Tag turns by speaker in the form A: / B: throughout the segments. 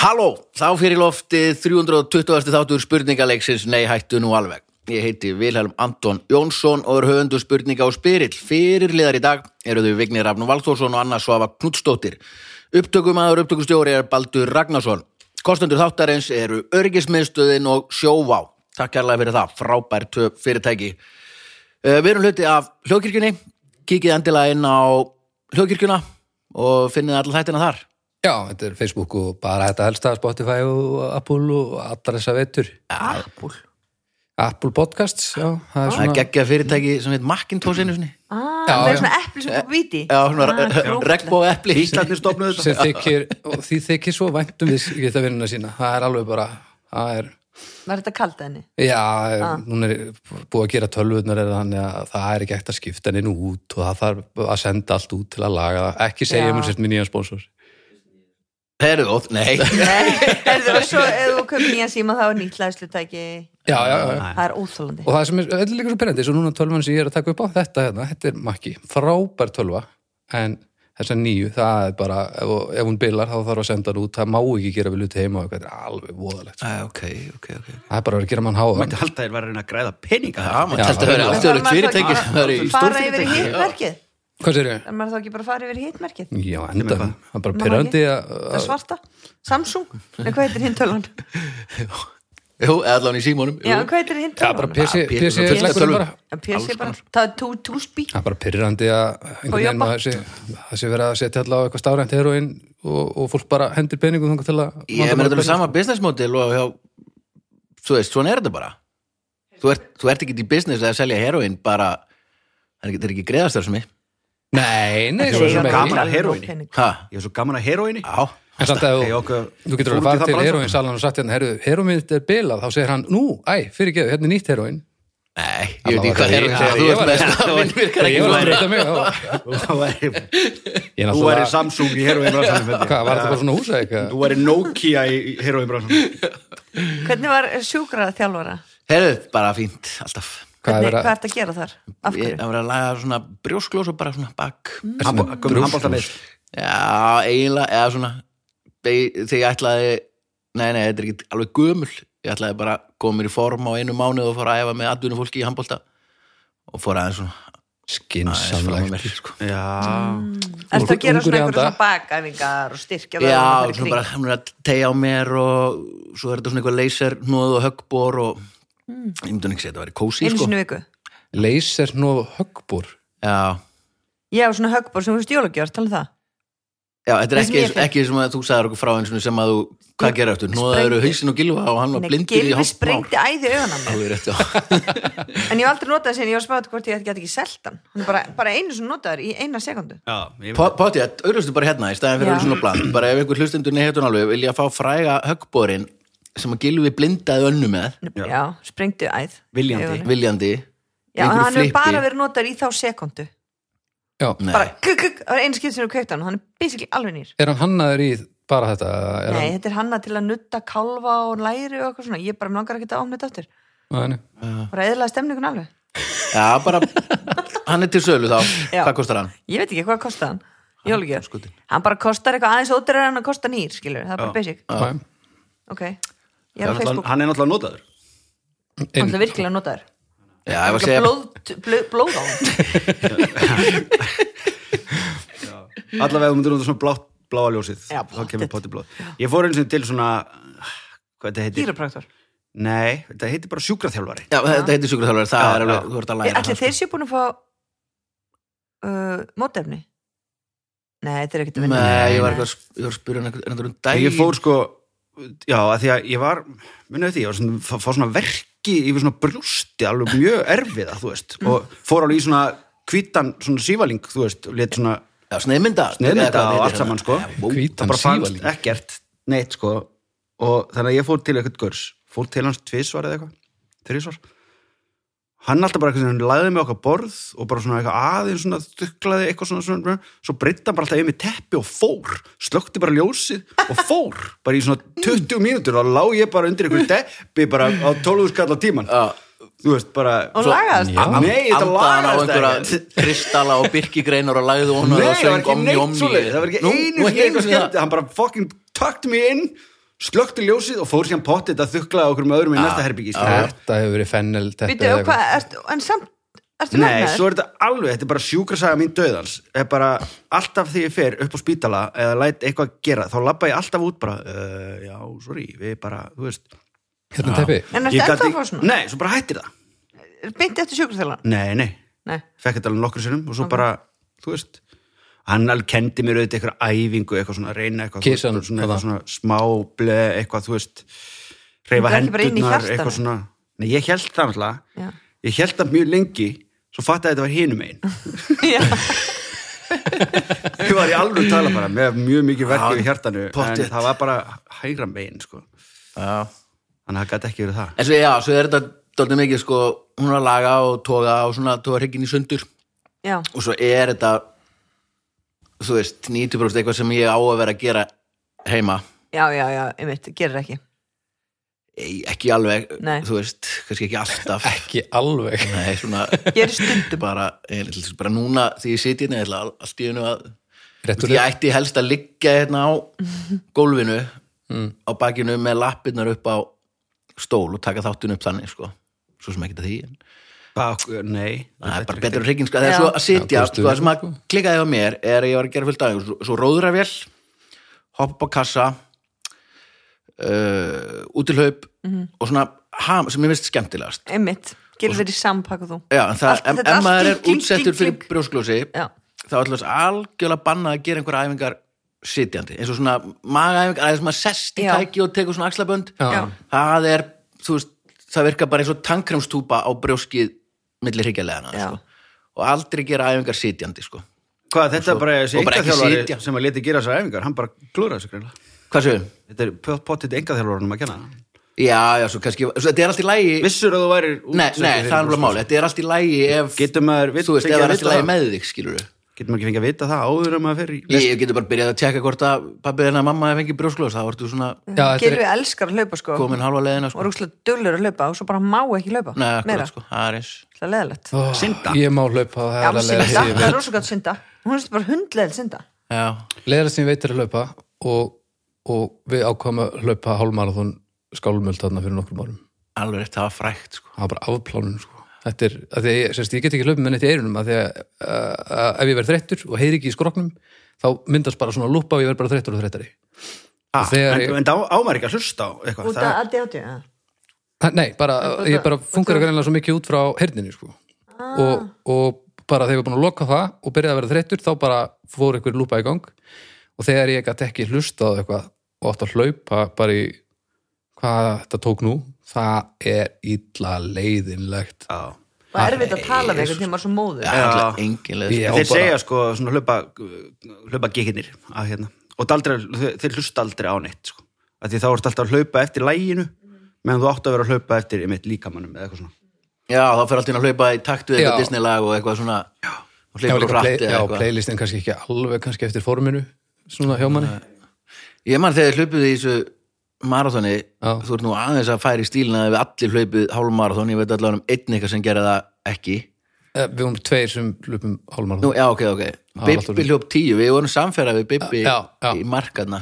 A: Halló, þá fyrir loftið 320. þáttur spurningaleiksins Nei, hættu nú alveg. Ég heiti Vilhelm Anton Jónsson og er höfundu spurninga og spyrill. Fyrirliðar í dag eru þau Vignir Rafnum Valþórsson og Anna Svafa Knudstóttir. Upptökumæður upptökustjóri er Baldur Ragnarsson. Kostendur þáttarins eru Örgismiðstöðin og Sjóvá. Takk kærlega fyrir það, frábær töp fyrirtæki. Eh, Við erum hluti af hljóðkirkjunni, kíkið endilega inn á hljóðkirkjuna og finnið allir þættina þar.
B: Já, þetta er Facebook og bara þetta helsta Spotify og Apple og allar þessa veitur
A: Apple.
B: Apple Podcasts, já, það er
A: Það er
B: svona
A: geggja fyrirtæki sem heit Macintosh einu sinni.
C: Ah,
B: Já,
C: það
B: já.
C: er svona eppli sem
A: Eh,
C: þú viti
A: Já,
B: Ah,
A: svona regnbóð epli.
D: Íslandin stofnuðu þetta
B: sem þykir, og því þykir svo væntum við geta vinnuna sína, það er alveg bara það er,
C: Var þetta kald henni?
B: já, hún er búið að gera tölvurnar er þannig að það er ekki ekkert að skipta henni út og það þarf að senda allt út til að laga það, ekki segja um
C: Já.
B: mér sért minn nýjan sponsor
A: Herðu góð, nei.
C: Nei, heyrðu, og svo ef þú köpum nýja síma þá er nýtt hlæðslutæki
B: já, já, já, já.
C: Það er óþólandi
B: og það sem er öll líka svo pyrrandi, svo núna tölvan sem ég er að taka upp á þetta hérna, þetta er makki, frábær tölva en þessa nýju, það er bara ef, ef hún bilar þá þarf að senda hann út það má ekki gera við luti heima og eitthvað, þetta er alveg voðalegt, sko.
D: Æ, ok, ok, ok
B: það er bara að vera að gera mann háðan
D: Mætti halda að þeir var að reyna að græða peninga
A: Já, maður tælt að vera
C: En
A: alþjóðlegt
C: þarf maður þá
A: fyrirtæki
C: ekki
A: sem er í
C: bara- Fara yfir í
A: stórfyrirtæki.
C: hittmerkið
B: hvað sér ég?
C: En maður þá ekki bara fara yfir í hittmerkið
B: Já, enda,
D: hvað?
B: það er bara
C: Má
B: pyrrandi
C: ekki?
B: að
C: Það svarta, Samsung Nei, hvað heitir hinn tölvan?
A: Jú, eða allan í símónum. jú.
C: Já, hvað heitir hinn
B: Já, bara
C: tölvan?
B: PC,
A: Ah, P-
B: PC
A: fullt af
B: leggur
A: tölvum.
B: bara
C: PC bara, það er tú- túsbí
B: Það er bara pyrrandi að einhvern
C: Og
B: veginn
C: jobba.
B: að sé, að sé verið að setja allavega eitthvað stafrænt heroinn og, og fólk bara hendir peningum þangað til að
A: Ég meina þetta er sama business model og hjá, þú veist, svona er þetta bara. Þú ert, þú ert ekki í business að selja heroin bara, það er ekki, það er ekki greiðastarsmi.
B: Nei, nei, svo
D: Ég er
B: sem ekki
D: gaman að heroinni.
A: Hæ?
D: Ég er svo gaman að heroinni
A: Já.
B: En samt að
D: Hey,
B: þú,
D: okkur-
B: þú getur
D: fór út í
B: alveg farið
D: það
B: til
D: bransan.
B: heroinsalan og sagt hérna, herru, heroinmiðt er bilað, þá segir hann, nú, æ, fyrir gefið, hérna er nýtt heroin.
A: Nei, ég veit ekki hvað
B: Allavega
A: heroin Þú
B: þegar ég
A: veist
B: var-
A: með þetta, minn virkar ekki
B: Ég var að
A: svona.
B: breyta mig, já.
D: Þú væri,
B: Ég
D: þú væri
B: náttúrulega,
D: Samsung í heroin
B: hvað, var þetta bara svona húsa
D: Þú
B: eitthvað?
D: væri Nokia í heroin
C: Hvernig var sjúkrara þjálfara?
A: Herðu, bara fínt, alltaf.
B: Hvað er
C: Hvernig,
B: verið
C: hvað
B: að,
C: ertu að gera þar? Af
A: Ég-
C: hverju?
A: Það var að laga svona brjósklós og bara svona bak.
D: Gömum handbóltanist
A: Já, eiginlega, eða svona be- þegar ég ætlaði nei, nei, þetta er ekki alveg gömul ég ætlaði bara að koma mér í form á einu mánuð og fór að æfa með aðdunum fólki í handbólta og fór aðeins svona aðeins fram að
B: skinsamlegt.
A: mér sko.
D: Já
C: Mm. Ertu að gera
B: Ungur
C: svona
B: í
C: einhverja
B: anda.
C: svona bakæfingar og
A: Já,
C: styrkja vöðvana þar í
A: svona
C: kring?
A: bara hún er að tegja á mér og svo er þetta svona eitthvað leyser hnóð og höggbor og ég myndi nú ekki segja þetta væri kósi
C: Hmm. Einu
A: sko.
C: sinni í viku
B: Leysert nóg höggbúr.
A: Já,
C: Já, svona höggbór sem þú veist jólagjörð, tala um það
A: Já, þetta er
C: Það sem
A: ekki,
C: ég fekk-
A: ekki sem að þú sagðir okkur frá eins og sem að þú, hvað gera eftir? Nóða
C: Sprengdi.
A: eru hausin og gilfa og hann var
C: Nei,
A: blindur í
C: Gylfi
A: hálft mál.
C: sprengdi æði augun á mér
A: Alveg rétt, já.
C: En ég hef aldrei notað þessi en ég var spáð hvort ég get ekki selt hann Hann er bara, bara einu sem notaður í eina sekundu
D: Já, ég veit
A: Potið, auðvitað bara hérna í staðin fyrir
C: Já.
A: auðvitað og bland bara ef einhver hlustendur neyhetun alveg vilja fá fræga höggbórin sem að gilfi blindaði önnu með
C: Já, sprengdi æð
D: Viljandi.
C: augun.
A: viljandi
C: Já,
A: einhverju
C: hann er
A: flippi.
C: bara verið notaður í þá sekundu
B: Já,
A: Nei.
C: Bara kuk, kuk, það var einu skipt sem þú kveikt hann og Hann er basically alveg nýr
B: er hann hannaður í bara þetta? Er
C: Nei,
B: hann-
C: þetta er hanna til að nutta kálfa og læri og eitthvað svona Ég bara mig langar ekki að ofna þetta aftur
B: Nei, nei.
C: Bara eðlaði stemningun alveg
A: Já, bara hann er til sölu þá
C: Já.
A: Hvað kostar hann?
C: Ég veit ekki hvað kostar hann Jólagjörð
A: skotinn.
C: Hann bara kostar eitthvað aðeins ódýrar en að kosta nýr, skilur Það er bara basic
B: Já.
C: Ok, ég er á
D: það.
C: Facebook
D: Hann er náttúrulega notaður
C: Hann er virkilega notaður
A: Já, ég var að segja
C: blóð, blóð, blóð á hann
D: Allavega þú myndir nota svona blátt bláa ljósið
C: Já,
D: Þá kemur
C: pottet.
D: potti blóð Ég fór einu sinni til svona Hvað þetta heitir?
C: Kýrapraktor
D: Nei, þetta heitir bara sjúkraþjálfari
A: Já, þetta heitir sjúkurþjálfur, það
D: Já,
A: er alveg,
D: já.
A: þú ert að læra sko.
C: Allir þeir séu búin að fá uh, mótefni Nei, þetta er ekkert að vinna
A: Nei, ég var eitthvað að sp- ég var að spyrja hann einhvern einhvern dag
D: Ég fór sko Já, að því að ég var Minnaði því, ég var svona Fá fá svona verki yfir svona brjósti Alveg mjög erfiða, þú veist Og fór alveg í svona hvítan svona sívaling Þú veist, og let svona
A: Já, sneiðmynda
D: neðmynda og allt saman sko
B: Hvítan
D: það bara fannst
B: sívaling.
D: ekkert neitt sko og þannig að ég fór til eitthvað gurs fór til hans tvisvar eða eitthvað þrísvar hann alltaf bara eitthvað sem lagði mig á okkar borð og bara svona eitthvað aðeins svona þuklaði eitthvað svona, svona, svona svo breytta bara alltaf yfir mig teppi og fór slökti bara ljósið og fór bara í svona 20 mínútur og lá ég bara undir eitthvað teppi bara á 12 skall á tíman
A: Já.
D: þú veist bara
C: Og sko.
D: svo-
C: lagaðist
D: Já. nei, þetta
A: Andaðan á
D: lagaðist
A: einhverja
D: ekkert.
A: kristalla og birkigreinar og lagði honum
D: Nei, það
A: og
D: var
A: söng
D: ekki
A: omni
D: neitt
A: omni
D: svoleið, það var ekki
A: Nú,
D: einu
A: nú
D: sinni
A: ekki
D: eitthvað
A: einu sinni
D: skemmt, hann bara fucking tucked me in slökkti ljósið og fór síðan pottið að þukla okkur með
A: Ah,
D: öðrum í næsta sko. herbyggi
B: Þetta hefur verið fennel þetta
C: Býtu,
B: eða
C: og hvað, ert, en samt,
D: Nei,
C: ertu lagnaður?
D: svo er þetta alveg, þetta er bara sjúkrasaga mín döðans er bara, alltaf því ég fer upp á spítala eða læt eitthvað gera, þá labba ég alltaf út bara, uh, já, sorry, við bara þú veist,
B: Hérna teppi
C: En ertu
D: ég
C: ennþá
D: gat
C: að fá
D: ekki-
C: svona?
D: Nei, svo bara hættir það
C: Beinti eftir sjúkraþjálfan?
D: Nei, nei,
C: Nei.
D: fekk þetta alveg nokkur sinnum og svo bara, þú veist hann alveg kendi mér auðvitað eitthvað æfingu eitthvað svona, reyna eitthvað, þú veist,
B: Kisan,
D: bara svona,
B: hvaða?
D: eitthvað svona smá ble, eitthvað, þú veist reyfa
C: Þetta er ekki bara inn í
D: hendurnar,
C: hjartanu.
D: eitthvað svona Nei, ég held það náttúrulega,
C: Já.
D: ég held það mjög lengi svo fattaði að þetta var hinum einn
C: Já,
D: Ég var í alveg að tala bara með mjög mikið verkið í hjartanu
A: pottþétt.
D: en það var bara hægra megin sko.
A: Já.
D: þannig að það gæti ekki verið það
A: En svo, já, svo er þetta dálítið mikið sko, hún er að laga og toga og svona toga hrygginn í sundur
C: já,
A: og svo er þetta þú veist, 90% eitthvað sem ég á að vera að gera heima
C: já, já, já, einmitt, gerir ekki.
A: Ei, ekki alveg,
C: Nei.
A: þú veist, kannski ekki alltaf
B: Ekki alveg
A: Nei, svona
C: Gerir stundum.
A: bara, eiginlega til þess, bara núna því ég siti hérna, ég ætla all- allt í hennu að
B: Rétt
A: Því
B: úr
A: ég ætti helst að liggja hérna á gólfinu á bakinu með lappirnar upp á stól og taka þáttinu upp þannig sko. svo sem ekkert að því en
D: Bak, Nei,
A: það er bara betur reygin sko. þegar
C: Já.
A: svo að sitja,
B: Já,
A: sko, það sem að klikkaði á mér er að ég var að gera fullt aðeins svo, svo róðravél, hoppa upp á kassa uh, útilhaup
C: Mhm.
A: og svona ham, sem ég veist skemmtilegast
C: Einmitt, gerir verið sampak og þú.
A: Já, en það,
C: Allt-
A: en,
C: þetta er
A: en
C: allt
A: maður er
C: kling, kling,
A: útsettur
C: kling,
A: fyrir
C: kling.
A: brjósklósi
C: Já,
A: þá er alltaf algjörlega bannað að gera einhverja æfingar sitjandi, eins og svona magaæfingar, aðeins maður sest í
C: Já.
A: tæki og tekur svona axlabönd
B: Já.
A: það er, þú veist, það virkar bara eins og tankremstúpa á brjóskið milli hryggjalegana,
C: Já.
A: sko og aldrei gera æfingar sitjandi, sko
D: Hvað þetta er bara þessi
A: og bara ekki
D: engaþjálfari
A: sitja.
D: sem að leti gera þessar æfingar hann bara klúraði sig greinlega
A: Hvað séu?
D: Þetta er pottit engaþjálfarunum að kenna
A: Já, já, svo kannski, svo þetta er allt í lægi
D: Vissur að þú væri
A: Nei, nei, það er alveg máli, þetta er allt í lægi ef,
D: Getur maður vit-
A: þú veist, ef
D: fengið
A: það
D: að
A: er allt í
D: vita
A: lægi
D: það?
A: með þig, skilur við
D: Getur maður ekki fengið að vita það áður að maður fer í
A: Ég, ég getur bara byrjað að tjekka hvort að pabbi þennan mamma hef fengið brjósklós, þá ertu svona
B: Já, þetta
C: gerir
B: er
C: við elskar að hlaupa, sko.
A: komin halva leiðina,
C: Og
A: sko
C: rúkslega dullur að hlaupa og svo bara má ekki hlaupa.
A: Nei,
C: Meira.
A: akkurat, sko, það er eins
C: Það er leðalegt.
B: Ó,
D: Synda.
B: Ég má hlaupa
C: Já,
B: það er
C: synda,
B: að
C: það er rosa gott synda. Hún er bara hundleðil synda.
A: Já,
B: leira sem ég veit er að hlaupa og, og við ákvæmum að hlaupa hálfmarathon skálmöld þarna fyrir nokkrum árum
A: alveg rétt, það var frækt sko.
B: það var bara afplánun sko. þetta er, að því að ég, sérst, ég get ekki hlaupið með neitt í eirunum að því að, að, að ef ég verð þreyttur og heyri ekki í skroknum þá myndast bara svona lúpa og ég verð bara þreyttur og þreyttari
D: ha,
B: Og þegar
D: En,
B: ég-
D: en á, ámar ekki að hlusta á eitthvað
C: Út
D: það,
C: að aðdjátti, já.
B: Ha, Nei, bara,
C: bara-
B: ég bara fungur að greinlega svo mikið út frá herninu, sko. Og, og bara þegar ég var búin að loka það og byrjaði að vera þreyttur, þá bara fór einhver lúpa í gang. Og þegar ég gæti ekki hlustað á eitthvað og átt að hlaupa bara í hvað þetta tók nú, það er illa leiðinlegt.
D: Já.
C: Og erfitt að tala við einhvern tíma svo móður.
A: Það er alltaf engin leið
B: Já,
A: sko.
D: Þeir
B: bara-
D: segja sko svona hlaupa hlaupa gikirnir að hérna og daldra, þeir, þeir hlusta aldrei á neitt sko. að því þá ertu alltaf að hlaupa eftir læginu meðan þú átt að vera að hlaupa eftir einmitt líkamannum eða eitthvað svona
A: Já, þá fer alltaf að hlaupa í takt við
B: Já.
A: eitthvað Disney-lag og eitthvað svona og
B: Já,
A: hlaupa
B: líka play,
A: rætt
B: já
A: eða eitthvað
B: playlistin kannski ekki alveg kannski eftir forminu, svona hjá manni.
A: Ég man þegar hlaupið í þessu marathoni
B: Já.
A: þú ert nú aðeins að færi stílina ef við allir hlaupið hálfmarathon, ég veit allavega um einn eitthvað sem gera það ekki
B: Eh, Við vorum tveir sem hlupum
A: Nú,
B: hálfmarathon.
A: já, ok, ok,
B: alltaf-
A: Bibbi hljóp tíu við vorum samferða við Bibbi
B: Já, já.
A: í markarna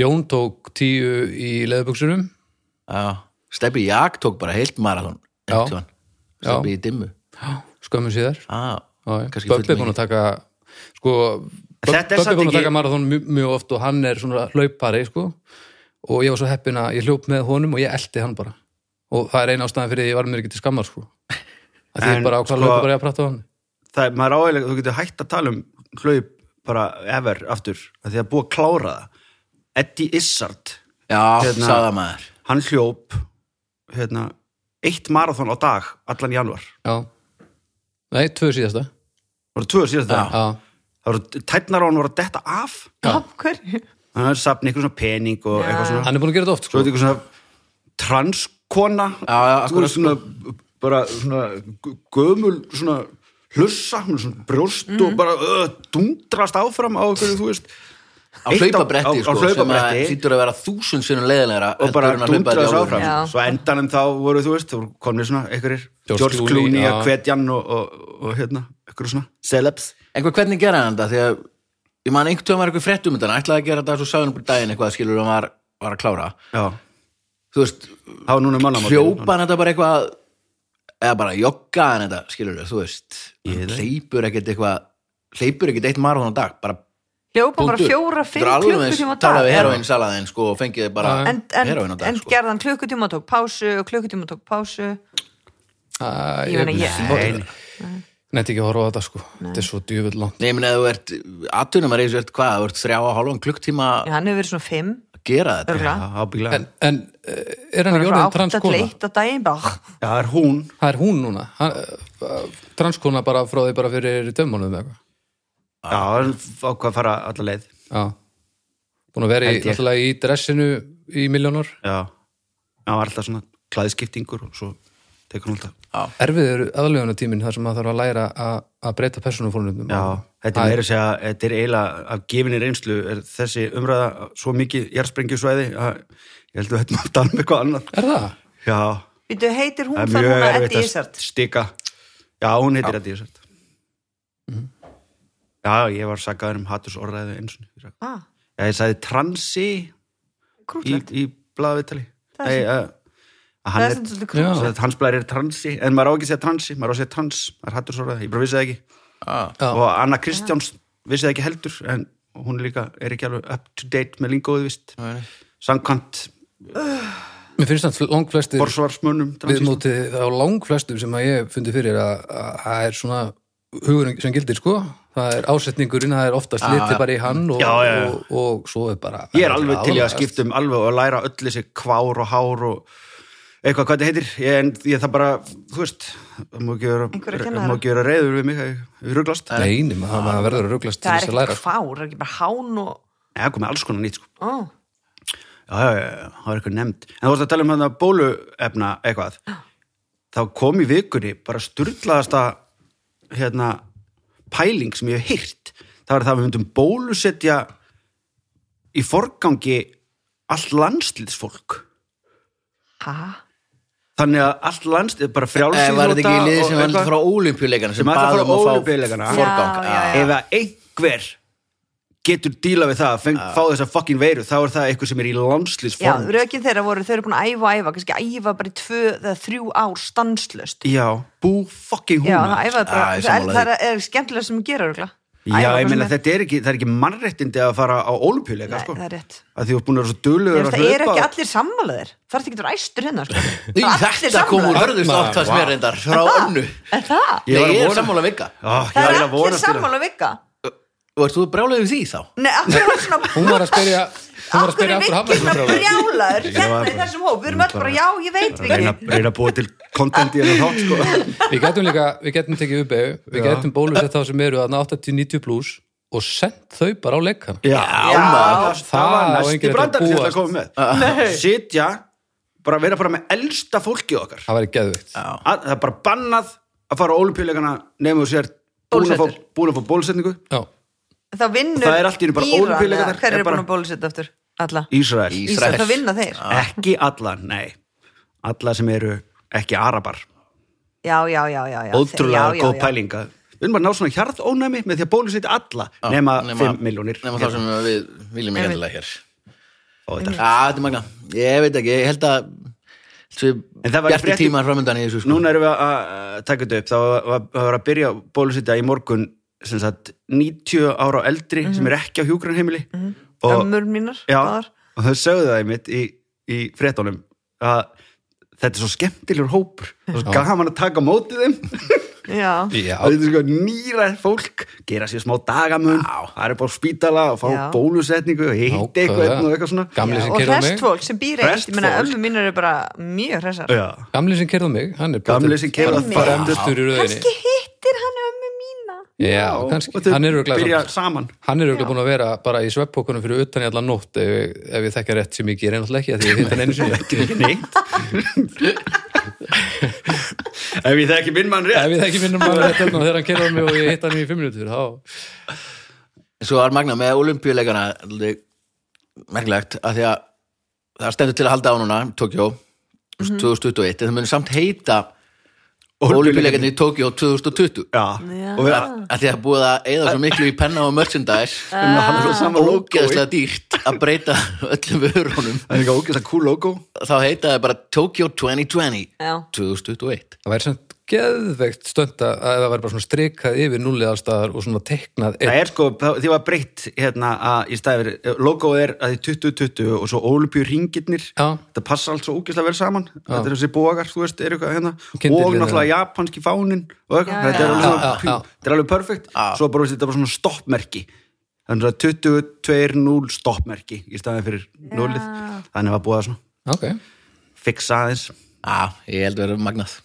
B: Jón tók tíu í leðbuksunum.
A: Já, Steppi Jak tók bara heilt marathon
B: Já.
A: einhvern tímann.
B: Já.
A: Stebbi í dimmu
B: Skömmu síðar.
A: ah,
B: Já, já.
A: kannski fullmikið.
B: Böbbi er búin að taka sko, Böb-
D: Þetta er
B: Böbbi
D: samt
B: er búin að
D: ekki-
B: taka marathon mjög, mjög oft og hann er svona hlaupari sko, og ég var svo heppin að ég hljóp með honum og ég eldi hann bara og það er eina ástæðan fyrir því ég var mér ekki til skammar sko. að því
D: En,
B: ég bara ákvað að
D: sko-
B: hlaupa bara í að prata á hann
D: það er, maður áhægilega, þú getur hægt að tala um hlaup bara ever aftur að því að búa að klára það Eddie Izzard,
A: Já,
D: Hérna-
A: sagða maður
D: hann hljóp hérna, eitt marathon á dag allan januar,
B: já. nei, tvö síðasta
D: það voru tvö síðast það
B: já,
D: voru tætnar á hann voru að detta af
C: Já, hverju?
D: hann er sapni eitthvað svona pening og eitthvað svona
B: hann er búin að gera þetta oft
D: svo
B: sko.
D: er þetta eitthvað svona transkona
A: Já, já,
D: þú
A: akkurat, sko.
D: veist svona bara svona gu- gömul svona hlussa, hún er svona brjóst og bara uh, dundrast áfram á okkur þú veist
A: á
D: Eitt
A: hlaupabretti
D: á,
A: sko,
D: á, á
A: sem að
D: hlaupabretti
A: hlýtur að vera þúsund sinnum leiðilegra
D: og bara dundraðis áfram
C: Já.
D: svo endanum þá voru þú veist þú voru komnir svona einhverjir
B: George
D: George
B: Clooney,
D: Clooney
B: já.
D: og Kvetjan og, og, og hérna einhverjum svona celebs
A: einhver hvernig um gera hann þetta því að ég man einhvern tíma var eitthvað fréttum þetta hann ætlaði að gera þetta svo sagði hann upp í daginn eitthvað skilur hann var var að klára
D: já,
A: þú veist,
D: það var núna mannamóti
A: hljópan þetta bara eitthvað eða bara joggaðan þetta, skilur við, þú veist
D: Ég veit.
A: hann hleypur ekkert eitthvað hleypur ekkert eitt marathon á dag, bara
C: Ljópa bara
A: punktur.
C: fjóra, fimm
A: Þetta er alveg eins-
C: klukkutíma á dag
A: talaði við
C: já.
A: heroin salaðin sko og fengið bara
B: Já.
C: En, en,
A: heroin á dag
C: en
A: sko.
C: gerðan klukkutíma og tók pásu og klukkutíma og tók pásu
B: Æ,
C: Ég meina, ég-
B: ég Nefndi ekki að horfa á þetta sko Þetta er svo djöfull langt
A: Nei, ég meina ef þú ert atvinnum að reysa, ert hvað, þú ert þrjá og hálfan klukktíma
C: Já, hann hefur verið svona fimm
A: að gera þetta
C: örgulega.
D: ábyggilega,
B: En, en eh, er hann
C: Bara
B: ekki
C: svona
B: orðin
C: átta til
B: transkona?
C: eitt á daginn
D: já,
C: bara
D: það er hún
B: Það er hún núna hann, uh, Transkona bara frá því bara fyrir dömmunum eða eitthvað
D: já, það er ákvað að fara alla leið
B: Já Búin að vera í,
D: Held ég.
B: náttúrulega í dressinu í miljónur
D: já, það var alltaf svona klæðskiptingur og svo tekur hún alltaf
B: Erfið eru aðlöfunatíminn þar sem maður þarf að læra að, að breyta persónufórnum
D: já, þetta er meira að segja, þetta er eiginlega af gefinni reynslu, er þessi umræða svo mikið jarðsprengjusvæði að ég held að þetta maður tala um eitthvað annað
B: Er það?
D: já,
C: Býtu, heitir hún
D: það er
C: það
D: mjög
C: núna
D: erfitt
C: Eddi
D: að
C: Ísart?
D: stika já, Mhm. hún heitir Eddi Ísart já, ég var sakaður um hatursorðræðu eins og
C: Ah,
D: Já, ég sagði transi í,
C: krútlegt,
D: í blaðavitali
C: Það
D: Nei,
C: er
D: að að
C: það
D: hann
C: er
D: er
C: sem svolítið
B: Já.
C: krútlegt
D: sagði að hans blæðir er transi, en maður á ekki að segja transi maður á að segja trans, maður hattur svo ræði, ég bara vissi það ekki
A: Ah.
B: Já.
D: og Anna Kristjáns vissi það ekki heldur en hún er líka er ekki alveg up to date með lingóðu vist
A: Nei.
D: samkant
B: Mér finnst þannig langflestir
D: borsvarsmönnum transist.
B: viðmótið á langflestum sem að ég hef fundið fyrir að að það er svona hugurinn sem gildir sko það er ásetningurinn, það er oftast
A: Já, já.
B: litið bara í hann og,
D: Já, já, já.
B: Og, og, svo er bara
D: ég er alveg til í að skipta um alveg og læra öll þessi kvár og hár og eitthvað hvað þetta heitir ég, en ég það bara, þú veist það má ekki vera,
C: Einhverja
D: það
C: kennara.
D: má ekki vera reyður við mig, ef ég ruglast
B: neini, maður maður verður að ruglast til
C: Það er
B: þess að
C: ekkert
B: læra sko.
C: kvár, það er ekki bara hán og
D: eða komið alls konar nýtt sko
C: Ó,
D: já, já, já, já, það var eitthvað nefnd en þú vorst að tala um þetta bóluefna eitthvað þá kom í vikunni bara sturlaðasta hérna, pæling sem ég hef hýrt það var það að við myndum bólusetja í forgangi allt landslýðsfólk
C: ha?
D: þannig að allt landslýð bara
A: Eh,
D: frjálsýðlóta
A: var þetta ekki liðið sem var alltaf frá ólimpíuleikana sem,
D: Sem
A: sem
D: ætla að fara
A: baðum að fá
D: Ólympíuleikana.
A: forgang
C: Já, já, já.
D: ef að einhver getur díla við það, feng, fá þessa fucking veiru þá er það eitthvað sem er í
C: Já,
D: landslýðsform
C: rökin þeirra voru, þau eru búin að æfa, æfa, kannski æfa bara í tvö eða þrjú ár stanslöst
D: já, bú fucking hún
C: Já, það æfaði bara,
A: Æ,
C: það,
A: sammála
C: er, það er skemmtilega sem gera örgulega
D: Já, ég meina þetta er ekki, það er ekki mannréttindi að fara á ólimpíuleika,
C: Nei,
D: sko.
C: það er rétt.
D: Að því þú ert búin að vera svo duglegur að
C: Það er
D: hlaupa.
C: ekki allir sammálaðir Það er ekki ræstur hérna sko.
A: Í,
C: Það eru allir
A: þetta kom úr
C: sammála.
A: hörðust
B: Þarna,
A: áttast
B: vá.
A: mér reyndar frá önnu
C: Er það?
A: Nei,
D: Ég var að
A: ég er
D: vona-
A: sammála vika
D: Ó,
C: Það
D: Ah, ég
C: er
D: er að
C: allir
D: vonast til það.
C: sammála um vika
A: og ert þú brjálega við því þá?
C: Nei, af hverju var svona
B: hún var að spyrja hún var að spyrja okkur
C: Akkur er
B: hafnarfjörn
C: vikið svona brjálaður
D: Ég
C: hérna
D: var
C: í
D: bara-
C: þessum hóp Við erum öll bara, já, ég veit
D: Reyna,
C: vikið
D: reyna að búa til content í þennan þátt, sko.
B: við getum líka, við getum tekið upp við
D: Já.
B: getum bólusett þá sem eru að 80-90 plus og sendt þau bara á leikana
D: Já,
A: maður.
D: það, það var
B: Það á
D: næsti
B: enginn að
D: brandar sem þetta
B: búast.
D: komið með. Sitja, bara vera bara með elsta fólkið okkar.
B: það væri geðveikt
D: Að, það er bara bannað að fara á ólimpíuleikana nefnum þú sér búin að fá-
C: Bólusettur.
D: búin að fá bólusetningu.
B: Já.
C: Þá vinnur
D: Það er allt í einu bara
C: Íran,
D: Ólympíuleikar,
C: eða
D: er
C: Hver er búin
D: bara- Ah.
C: að bólusetta aftur? Alla
D: Ísrael.
A: Í- Ísrael.
C: Ísrael, það vinna þeir
D: Ekki alla, nei. Alla sem eru ekki arabar.
C: Já, já, já, já, já
D: ótrúlega
C: Já, já,
D: góð
C: já.
D: pælinga við erum bara að ná svona hjarðónæmi með því að bólusetja alla nema 5 miljónir
A: nema þá sem við viljum ekki endilega hér
D: sem...
A: Já, þetta er magna, ég veit ekki, ég held að
D: En það var
A: þessu
D: í
A: bjarti
D: fréttum-
A: tímar framöndan í þessu sko
D: núna erum við að að taka þetta upp þá var- það var að byrja að bólusetja í morgun sem sagt 90 ára og eldri
C: Mhm.
D: sem er ekki á hjúgrunheimili og,
C: Ömmur mínar
D: já,
C: báðar.
D: og þau sögðu það einmitt í, í fréttunum að þetta er svo skemmtilegur hópur það er svo gaman að taka á móti þeim
C: Já
B: Já.
D: það er sko nýra fólk gera sér smá dagamun það er upp á spítala og fá
C: Já.
D: bólusetningu og hitti eitthvað einn og eitthvað svona
B: gamli sem
C: Og
B: kerði á mig
C: hrestfólk sem býr eitt Ég meina,
D: Hræst fólk.
C: ömmur mínar eru bara mjög hressar
D: Já.
B: gamli sem kerði á mig hann er
D: Gamli
B: pottet
D: sem keyrði á mig.
B: fremdastur í rauðinni
C: Kannski hittir hann ömmu mína
B: já,
D: Og-
B: kannski,
D: og þau
B: hann er
D: byrja
B: örgulega
D: saman
B: hann er örgulega búin að vera bara í sveppokunum fyrir utan í allan nótt ef, ég- ef ég þekka rétt sem ég ger einhvern ekki af því ég hitt hann einu sinni
D: Ekki ekki neitt Ef ég þekki minn mann rétt
B: ef ég þekki minnum að rétt þarna þegar hann kerði á mig og ég hitt hann í fimm minútur þá
A: Svo var magna með olimpíuleikana alveg merkilegt að því að það stendur til að halda á núna Tokjó
D: Mhm.
A: 2021 en það mun samt heita olimpíuleikarnir í Tokjó 2020
D: Já,
C: Já.
D: og við,
B: Ah.
A: að því að búið að eyða svo miklu í penna og merchandise
D: við erum um að hafa svo Ah. sama logo
A: ógeðslega dýrt að breyta öllum vörunum
D: það er líka ógeðslega cool logo
A: þá heita það bara Tokyo 2020
C: Já.
A: 2021
B: Það væri samt geðveikt stönd að að það væri bara svona strikað yfir núlið allstaðar og svona teiknað einn.
D: það er sko, þá- því var breytt hérna að í staðir, logoð er að því 2020 og svo ólupjur ringirnir
B: Já.
D: þetta passa allt svo ógeðslega vel saman þetta er þessi bógar, þú veist, er eitthvað hérna
B: Kyndilið,
D: og náttúrulega japanski fánin og eitthvað, þetta er alveg,
B: já,
D: svona,
B: já,
D: pjú,
B: já.
D: þetta er alveg perfekt svo bara, veist, þetta er bara svona stoppmerki þannig að 2020 stoppmerki í staðin fyrir núlið þannig var búið að svona
B: Ok,
D: fixa aðeins
A: Já, ég held að vera magnað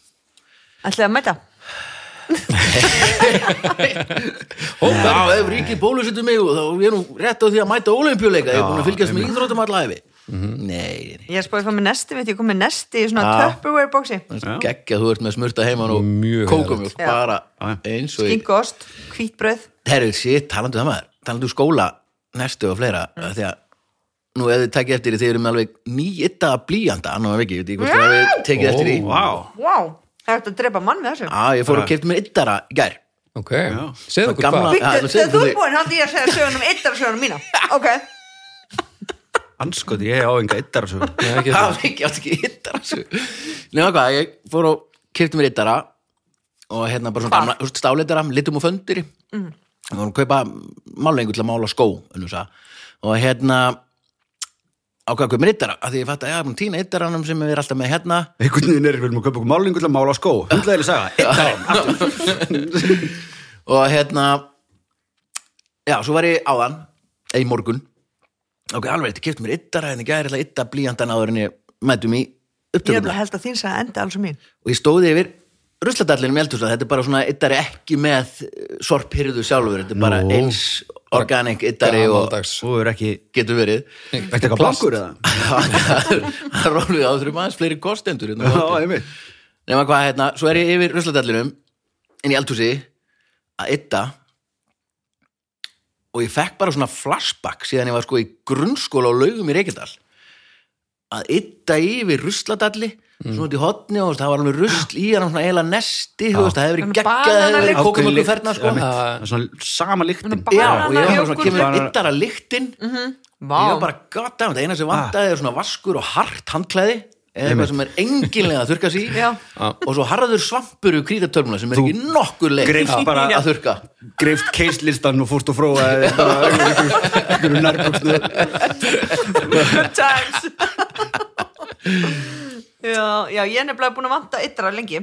C: Ætlaði að mæta
A: Ó, Já, ef ríkið bólusettu mig og þá er ég nú rétt á því að mæta ólimpjuleika ég er búin að fylgjast með íþrótum allæfi Mhm. Nei, nei.
C: Ég er spóið að fá með nesti mitt, ég kom með nesti í svona Tupperware boxi
A: geggja þú ert með smurta heima og
B: Mjög
A: kókumjólk
C: Já.
A: bara
D: Já,
A: eins og í
C: Skingu ost, hvítbröð
A: Herru, shit, talandu það maður, talandu skóla næstu og fleira, mm. því að nú ef þið takkja eftir því þið eru með alveg nýitta blíjanda, annað ekki, ég veit ekki hvort þið hafið tekið eftir því.
B: Ó.
D: wow.
C: Wow, það er hægt að drepa mann með þessu
A: Já, ég fór og kefti mér yttara í gær.
B: ok.
D: Já.
B: Segðu okkur
A: Gamla-
B: hvað.
A: já,
C: Bíddu,
A: nú segðu
C: Þegar
A: þú
C: þú
A: þig.
C: er búin, haldi ég að segja sögunum eittar sögunum mína Ok,
D: anskoði, ég á enga eittar að sögum
B: Já, ekki
A: Já,
B: þetta.
A: ekki, ég átti ekki yttara svo. Nefna hvað, ég fór og kefti mér yttara og hérna bara svona gamla, húst, stáleitara, litum og föndir. Mm. Við vorum að kaupa málengu til að mála skó, unnum sá. Og hérna ákvað að kaupa mér yttara, af því ég fatt að ég er búin að týna yttaranum sem við erum alltaf með hérna.
D: einhvern veginn er við viljum að köpa okkur málingu til að mála á skó hundlegileg saga, eittarinn, aftur
A: og hérna já, svo var ég áðan eða í morgun ok, alveg, þetta kefti mér yttara en ég gæri ætla að ytta blíjandan áður en ég mætum í
C: ég er bara
A: upptökum
C: að held að þín sagði enda alls og mín
A: og ég stóði yfir rusladallinu með eldhúslega, þetta er bara svona yttari ekki með eh, sorphirðu sjálfur þetta er bara
D: Nú.
A: eins organic yttari og
B: Gamaldags.
D: Þú er ekki,
A: getur verið
D: ertu eitthvað
B: plast.
D: blankur eða?
A: það rólið á þurfum aðeins fleiri kostendur hérna á
D: Já,
A: hótelinu.
D: einmitt.
A: nema hvað hérna, svo er ég yfir rusladallinum inn í eldhúsi að ytta og ég fekk bara svona flashback síðan ég var sko í grunnskóla og laugum í Reykjadal að ytta yfir rusladalli svona út í hotni og þú veist, það var alveg rusl í hann svona eiginlega nesti, þú veist, það hefur verið
C: Svona
A: geggjað hefur verið
C: bananalykt.
A: kókum okkur
D: Ákveðin
A: ferna sko
D: lykt,
A: Já,
D: einmitt. Það er Svona sama lyktin
C: Svona
A: og
C: bara-
A: ég var bara
C: Banana,
A: svona kemur
D: jógúrt.
A: yttara lyktin
C: Vá,
A: Ég var bara gott af þetta, eina sem vantaði er svona vaskur og hart handklæði eða eitthvað sem er enginlega að þurka sig í
C: Já.
A: og svo harður svampur úr krítatörmuna sem er ekki nokkur leik
D: greifst
A: að-
D: bara-
A: að þurka
D: Greift keislistan og fórst og fróa Einhverju nærbuksnu
C: good times Já, já, ég er nefnilega búin að vanta yttara lengi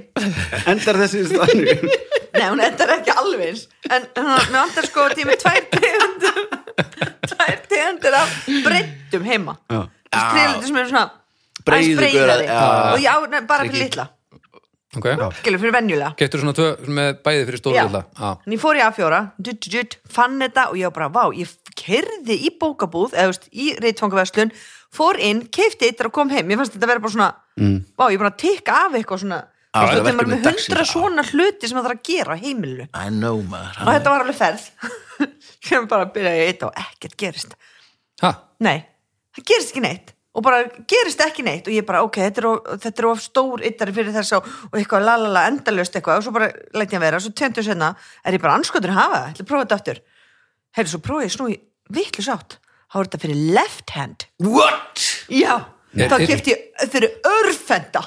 D: Endar þessi stannu
C: Nei, hún endar ekki alveg eins En hún, mér vantar sko tími tvær tegundum Tvær tegundur af breyttum heima
D: Já.
C: Skriðlutur sem er svona
A: Breiðu
C: aðeins
A: görar,
C: breiðari.
A: já.
C: Og já, ne, bara fyrir
A: Tryggi.
C: litla
B: Ok.
C: Skilur, fyrir venjulega
B: Getur svona tvö með bæði fyrir stóru
C: Já.
B: vilja? Já.
C: En ég fór í A4, dutt, dutt, dutt, fann þetta og ég var bara, vá, ég kerði í bókabúð, eða þú veist, í reitfangaverslun, fór inn, keifti eittar og kom heim. Mér fannst þetta vera bara svona, vá, ég er bara að tikka af eitthvað svona,
A: Já,
C: þú veist,
A: þetta
C: þetta er maður
A: verkefni
C: með hundra
A: dagsins, já.
C: svona hluti sem það þarf að gera á heimilu.
A: I know maður
C: Og
A: hann-
C: þetta var alveg ferð, sem bara byrjaði ég eitt og ekkert gerist.
B: Ha?
C: Nei, það gerist ekki neitt og bara gerist ekki neitt og ég bara ok, þetta er of, þetta er of stór yttari fyrir þess og, og eitthvað lalala endalöst eitthvað og svo bara læt ég að vera, svo tjöndur senna er ég bara anskotur að hafa það, ætla að prófa þetta aftur heyrðu, svo prófa ég snú í vitlu sátt þá er þetta fyrir left hand
A: What?
C: já,
B: Er-
C: þá
B: er-
C: kefti ég fyrir örfenda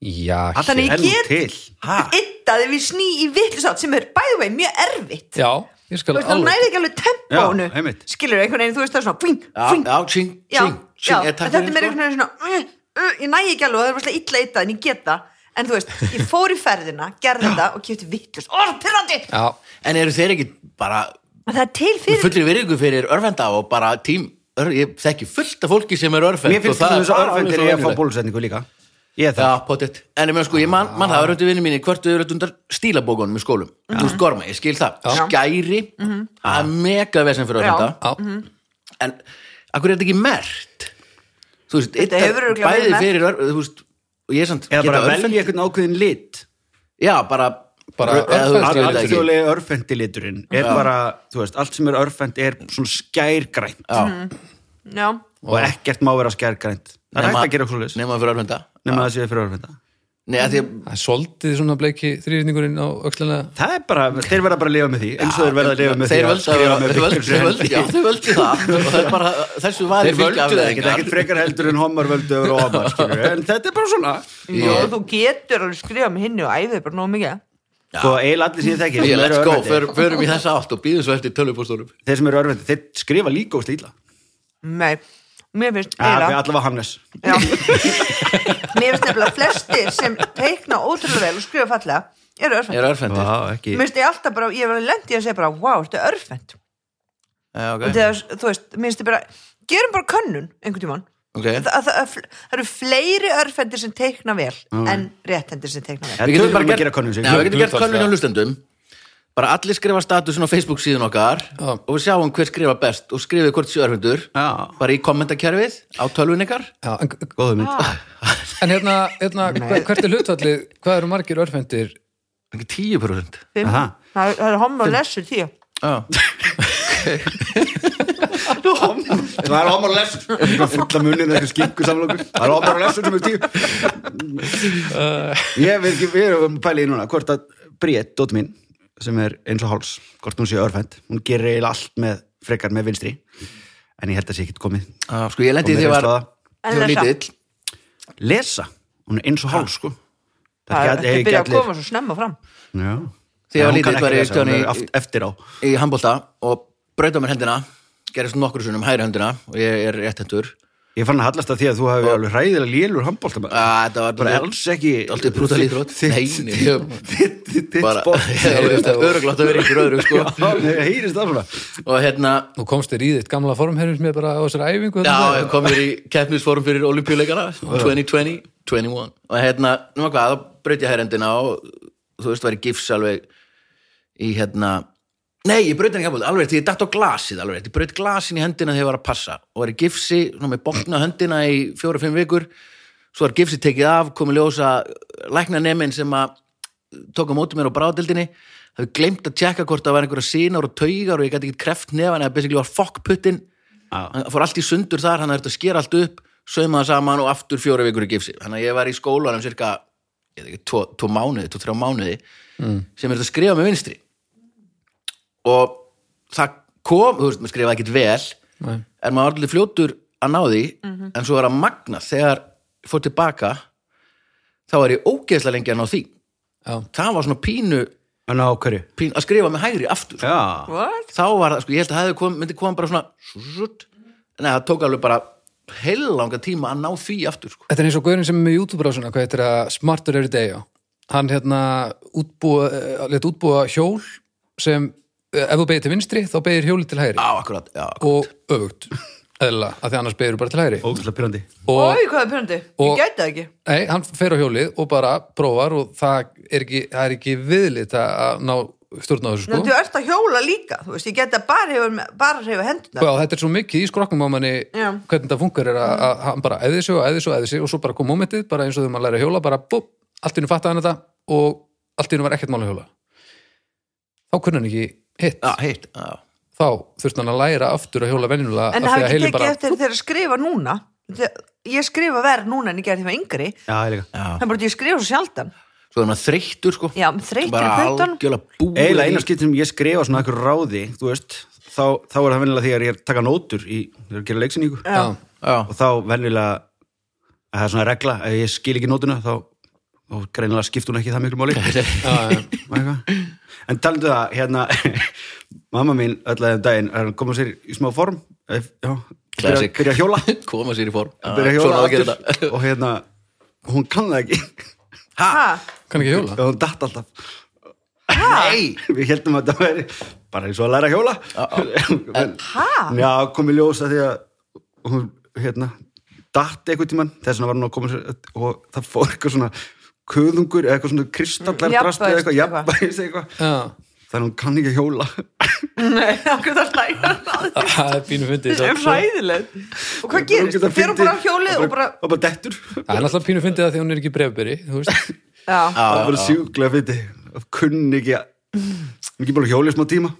B: Já.
C: þannig
D: Hell
C: ég get
D: til. Ha?
C: yttaði við sný í vitlu sátt sem er bæðu veginn mjög erfitt
B: Já, ég skal
C: þú veist, það
B: alveg.
C: næði ekki alveg tempónu
D: Já, einmitt.
C: skilur einhvern veginn, þú veist það er svona fing,
A: Já,
C: fing,
A: já, tjing,
C: já,
A: tjing,
C: já,
A: tjing
C: en þetta er meira
A: sko.
C: einhvern veginn svona uh, uh, ég næ ekki alveg, það er varslega illa eitt en ég get það, en þú veist, ég fór í ferðina gerði þetta og kjöpti vittlust ó, pyrrandi,
B: Já.
A: En eru þeir ekki bara
C: það er til
A: með
C: fyrir
A: fullri virðingu fyrir örfenda og bara tím ör, ég þekki fullt af fólki sem er örfend
D: Mér finnst
A: og það
D: þetta
A: er
D: þessu
A: bara alveg
D: örfendir
A: svo
D: ég að fá
A: venjulegt.
D: bólusetningu líka Ég er það
A: Já, potið. En ég meðan sko, ég man, man það röndu vinni mínir hvort þau eru undar stílabókunum í skólum. Þú veist, gorma, ég skil það.
B: Já.
A: Skæri, það er mega vesen fyrir
C: Já.
A: örfenda.
B: Já.
C: Mhm.
A: En, akkur er þetta ekki mert? Þú veist,
C: Þetta
A: yddar-
C: hefur örugglega verið
A: bæði
C: merkt.
A: fyrir örfenda, þú veist, og ég er samt,
D: Eða bara
A: örfend-
D: velja einhvern ákveðin lit
A: Já, bara,
B: Bara
A: eða þú veist, ég veit það ekki.
D: Alþjóðlega örfendiliturinn er bara, þú veist, allt sem er örfend er svona skærgrænt
A: Já,
C: já,
D: og ekkert má vera skærgrænt Það er
A: Nema-
D: hægt að gera okkur leis
A: nema fyrir örfenda.
D: nema það séu fyrir örfenda
A: Nei, að því að
B: Það er svolítið svona bleiki þrýrningurinn á öxlina
D: Það er bara, þeir verða bara að lifa með því eins og þeir verða að lifa með
A: þeir
D: því að skrifa
A: völdu
D: með
A: þeir völdu- þeir völdu- já, þeir völdu það og það er bara, þessu var
D: Þeir völdu það ekkert, ekkert frekar heldur en homar völdu og homar, skilur en þetta er bara svona
C: Jó, þú getur alveg skrifað með hinni og æðið bara nóg mikið
D: Sko, eiginlega allir sem ég þekki
A: Ég,
D: sem eru
A: let's go,
D: örvhentir,
A: för, förum í þessa átt og býðum svo eftir tölvupóstunum
D: þeir sem eru örvendi, þeir skrifa líka úst illa
C: Nei, mér finnst
D: Það er
C: eiginlega-
D: allavega Hannes
C: Já. Mér finnst nefnilega flestir sem teikna ótrúlega vel og skrifa fallega eru örfend.
A: Er örfendir?
D: Vá, ekki
C: Mér finnst ég alltaf bara, ég var lendið að segja bara, wow, þetta er örfend.
A: Já, ok,
C: Og þegar, þú veist, mér finnst ég bara, gerum bara könnun einhvern tímann.
A: okay.
C: Það, það, það, það eru fleiri örfendir sem teikna vel en réttendir sem teikna vel.
D: Við getum bara að gera konum
A: Já, við getum gert
B: Hlutfallslega.
A: könnun á hlustendum bara allir skrifa statusin á Facebook síðan okkar
B: Já.
A: og við sjáum hver skrifa best og skrifið hvort séu örfendur
D: Já.
A: bara í kommentakerfið á tölvun ykkar
B: Já, en,
D: Góðu mynd
B: en hérna, hérna hver- hvert er hlutfallið, hvað eru margir örfendir
A: ekki 10%
C: Fimm.
D: Aha.
C: Það það eru homma og lesur tíu.
A: Já,
D: Það er homar og lesur Það er fulla munin þessu skinku samlokur Það er homar og lesur sem er tíu Ég veit ekki, við erum pælið í núna hvort að Briett, dótt mín sem er eins og háls, hvort hún sé örfænt hún gerir eiginlega allt með frekar með vinstri en ég held að sé ekki komið
A: Já, sko ég lendi í því
D: Komið
A: að ég
D: reynsla
A: var
D: á það.
A: þegar ég var
C: lesa.
A: lítill
D: lesa, hún er eins og háls sko
C: Það er ekki byrjað að
D: allir-
C: koma svo snemma fram.
D: Já.
A: Þegar ég var
D: Hún kann
A: lítill
D: ekki
A: var ég
D: lesa, hún
A: Johnny-
D: er aft- eftir á
A: í handbólta og braut á mér hendina gerist nokkur sunnum hægri hendina og ég er réttendur
D: Ég fann að hallast að því að þú hafi alveg hræðilega lélur handbóltamæður.
A: Þetta var
D: Bara alls ekki...
A: Aldrei brútal íþrótt Nei, nei, ég-
D: Þitt, þitt, þitt
A: bara
D: sport.
A: öruglátt að vera ykkur öðru sko.
D: Nei, það heyrist það svona.
A: og hérna
B: Nú komst þér í þitt gamla formherjum með bara á þessari æfingu hérna.
A: já,
B: þarna.
A: ég kom mér í keppnisforum fyrir olimpíuleikana 2020, 21 og hérna, núma hvað, þá braut ég hægrendina og þú veist, var ég gifs alveg í hérna nei, ég braut henni ekki alveg, því ég datt á glasið alveg, ég braut glasin í hendina þegar ég var að passa og var í gifsi, svona með bókna höndina í fjóra-fimm vikur, svo var gifsi tekið af, komið ljósa læknanemin sem að tók á móti mér á bráðdildinni hafði glemt að tjekka hvort það var einhverja sínar og taugar og ég gæti ekki kreft nefan eða basically var fokkputtin
D: Já.
A: hann fór allt í sundur þar, hann er þetta að skera allt upp sauma það saman og aftur fjóra vikur í gifsi þannig að ég var í skólanum cirka ég veit ekki, tvo, tvo mánuði, tvo, þrjá mánuði sem er þetta að skrifa með vinstri og það kom, þú veist, maður skrifaði ekkert vel
B: Nei.
A: en maður var allir fljótur að ná því en svo var að magna þegar ég fór tilbaka þá var ég ógeðslega lengi að ná því
B: Já.
A: það var svona pínu,
D: En á hverju?
A: pínu að skrifa með hægri aftur
D: Já.
C: What?
A: þá var það, sko, ég held að það hefði kom, myndi koma bara svona sút, en það tók alveg bara heil langa tíma að ná því aftur sko.
B: Þetta er eins og gaurinn sem er með YouTube-rásuna, hvað heitir að Smarter Every Day, já. Hann hérna útbúa, eh, lét útbúa hjól sem, eh, ef þú beigir til vinstri, þá beigir hjóli til hægri.
A: á, akkurat, já,
B: Og öfugt, eðla, af því annars beigir bara til hægri.
D: Ógustlega pyrrandi.
B: Og,
C: Ói, hvað er pyrrandi? Ég
B: og-
C: gæti það ekki.
B: nei, hann fer á hjólið og bara prófar og það er ekki, það er ekki viðlit að ná stjórna á þessu,
C: Ná,
B: sko.
C: þú ert að hjóla líka, þú veist, ég geti að bara hefur, bara hefur hendunar.
B: Já, þetta er svo mikið í skrokkum á manni
C: Já. Mm.
B: hvernig það funkar er að, að hann bara æði sig og æði sig og æði sig og svo bara kom momentið, bara eins og þegar maður læri að hjóla bara búpp, allt í hennu fattaði hann þetta og allt í hennu var ekkert mál að hjóla þá kunni hann ekki hitt
A: já, heitt já.
B: þá þurfti hann að læra aftur að hjóla venjulega af
C: En
B: því
C: hafi
B: að
C: ekki
B: heilin
C: tekið
B: bara,
C: eftir þegar að skrifa núna Þegar- Ég skrifa verð núna en ég gerði því að yngri
D: Já, ég líka.
B: Ah.
A: Já.
C: Það er bara að ég skrifa svo sjaldan
A: svo er maður þreyttur sko.
C: Já, þreyttur
A: bara
C: í puttunum.
A: algjörlega búið
D: Eila,
A: í-
D: eina skiptir sem ég skrifa svona eitthvað ráði, þú veist, þá, þá er það vennilega þegar ég er að taka nótur í, þegar ég er að gera leiksinningu.
B: já,
A: já,
D: Og þá vennilega, að það er svona regla, ef ég skil ekki nótuna, þá, þá greinilega skipt hún ekki það miklu máli.
B: já, já,
D: Og eitthvað. En talandu það, hérna mamma mín öllaði um daginn er hann koma sér í smá form eh, já, byrja,
A: Classic.
D: byrja að hjóla
A: koma sér í form Já,
D: byrja að
A: svona
D: hjóla
A: á að gera þetta.
D: aftur og hérna, hún kann það ekki
B: Ah.
C: ha,
B: kann ekki
D: og
B: hjóla
D: hún datt alltaf
A: nei,
D: við heldum að það væri bara eins og að læra að hjóla en,
C: ha?
D: já, kom í ljósa því að hún, hérna, datt eitthvað tíman þess vegna var hún að koma sér og það fór eitthvað svona köðungur eða eitthvað svona kristallar
C: Mm,
D: drast eða eitthvað,
C: Jafnvægist,
D: jafnvægist eitthvað
B: já,
D: þannig að hún kann ekki að hjóla
C: Nei, okkur það hlægir
B: það er pínu fyndið
C: Það er
B: það
C: hræðilegt Og hvað gerist? Það fer hún bara á hjólið og bara
D: og bara dettur
B: Það er náttúrulega pínu fyndið að því hún er ekki brefberi þú veist, Ah.
C: Já,
D: það er bara sjúklega fyndi kunni ekki að ekki bara hjólið smá tíma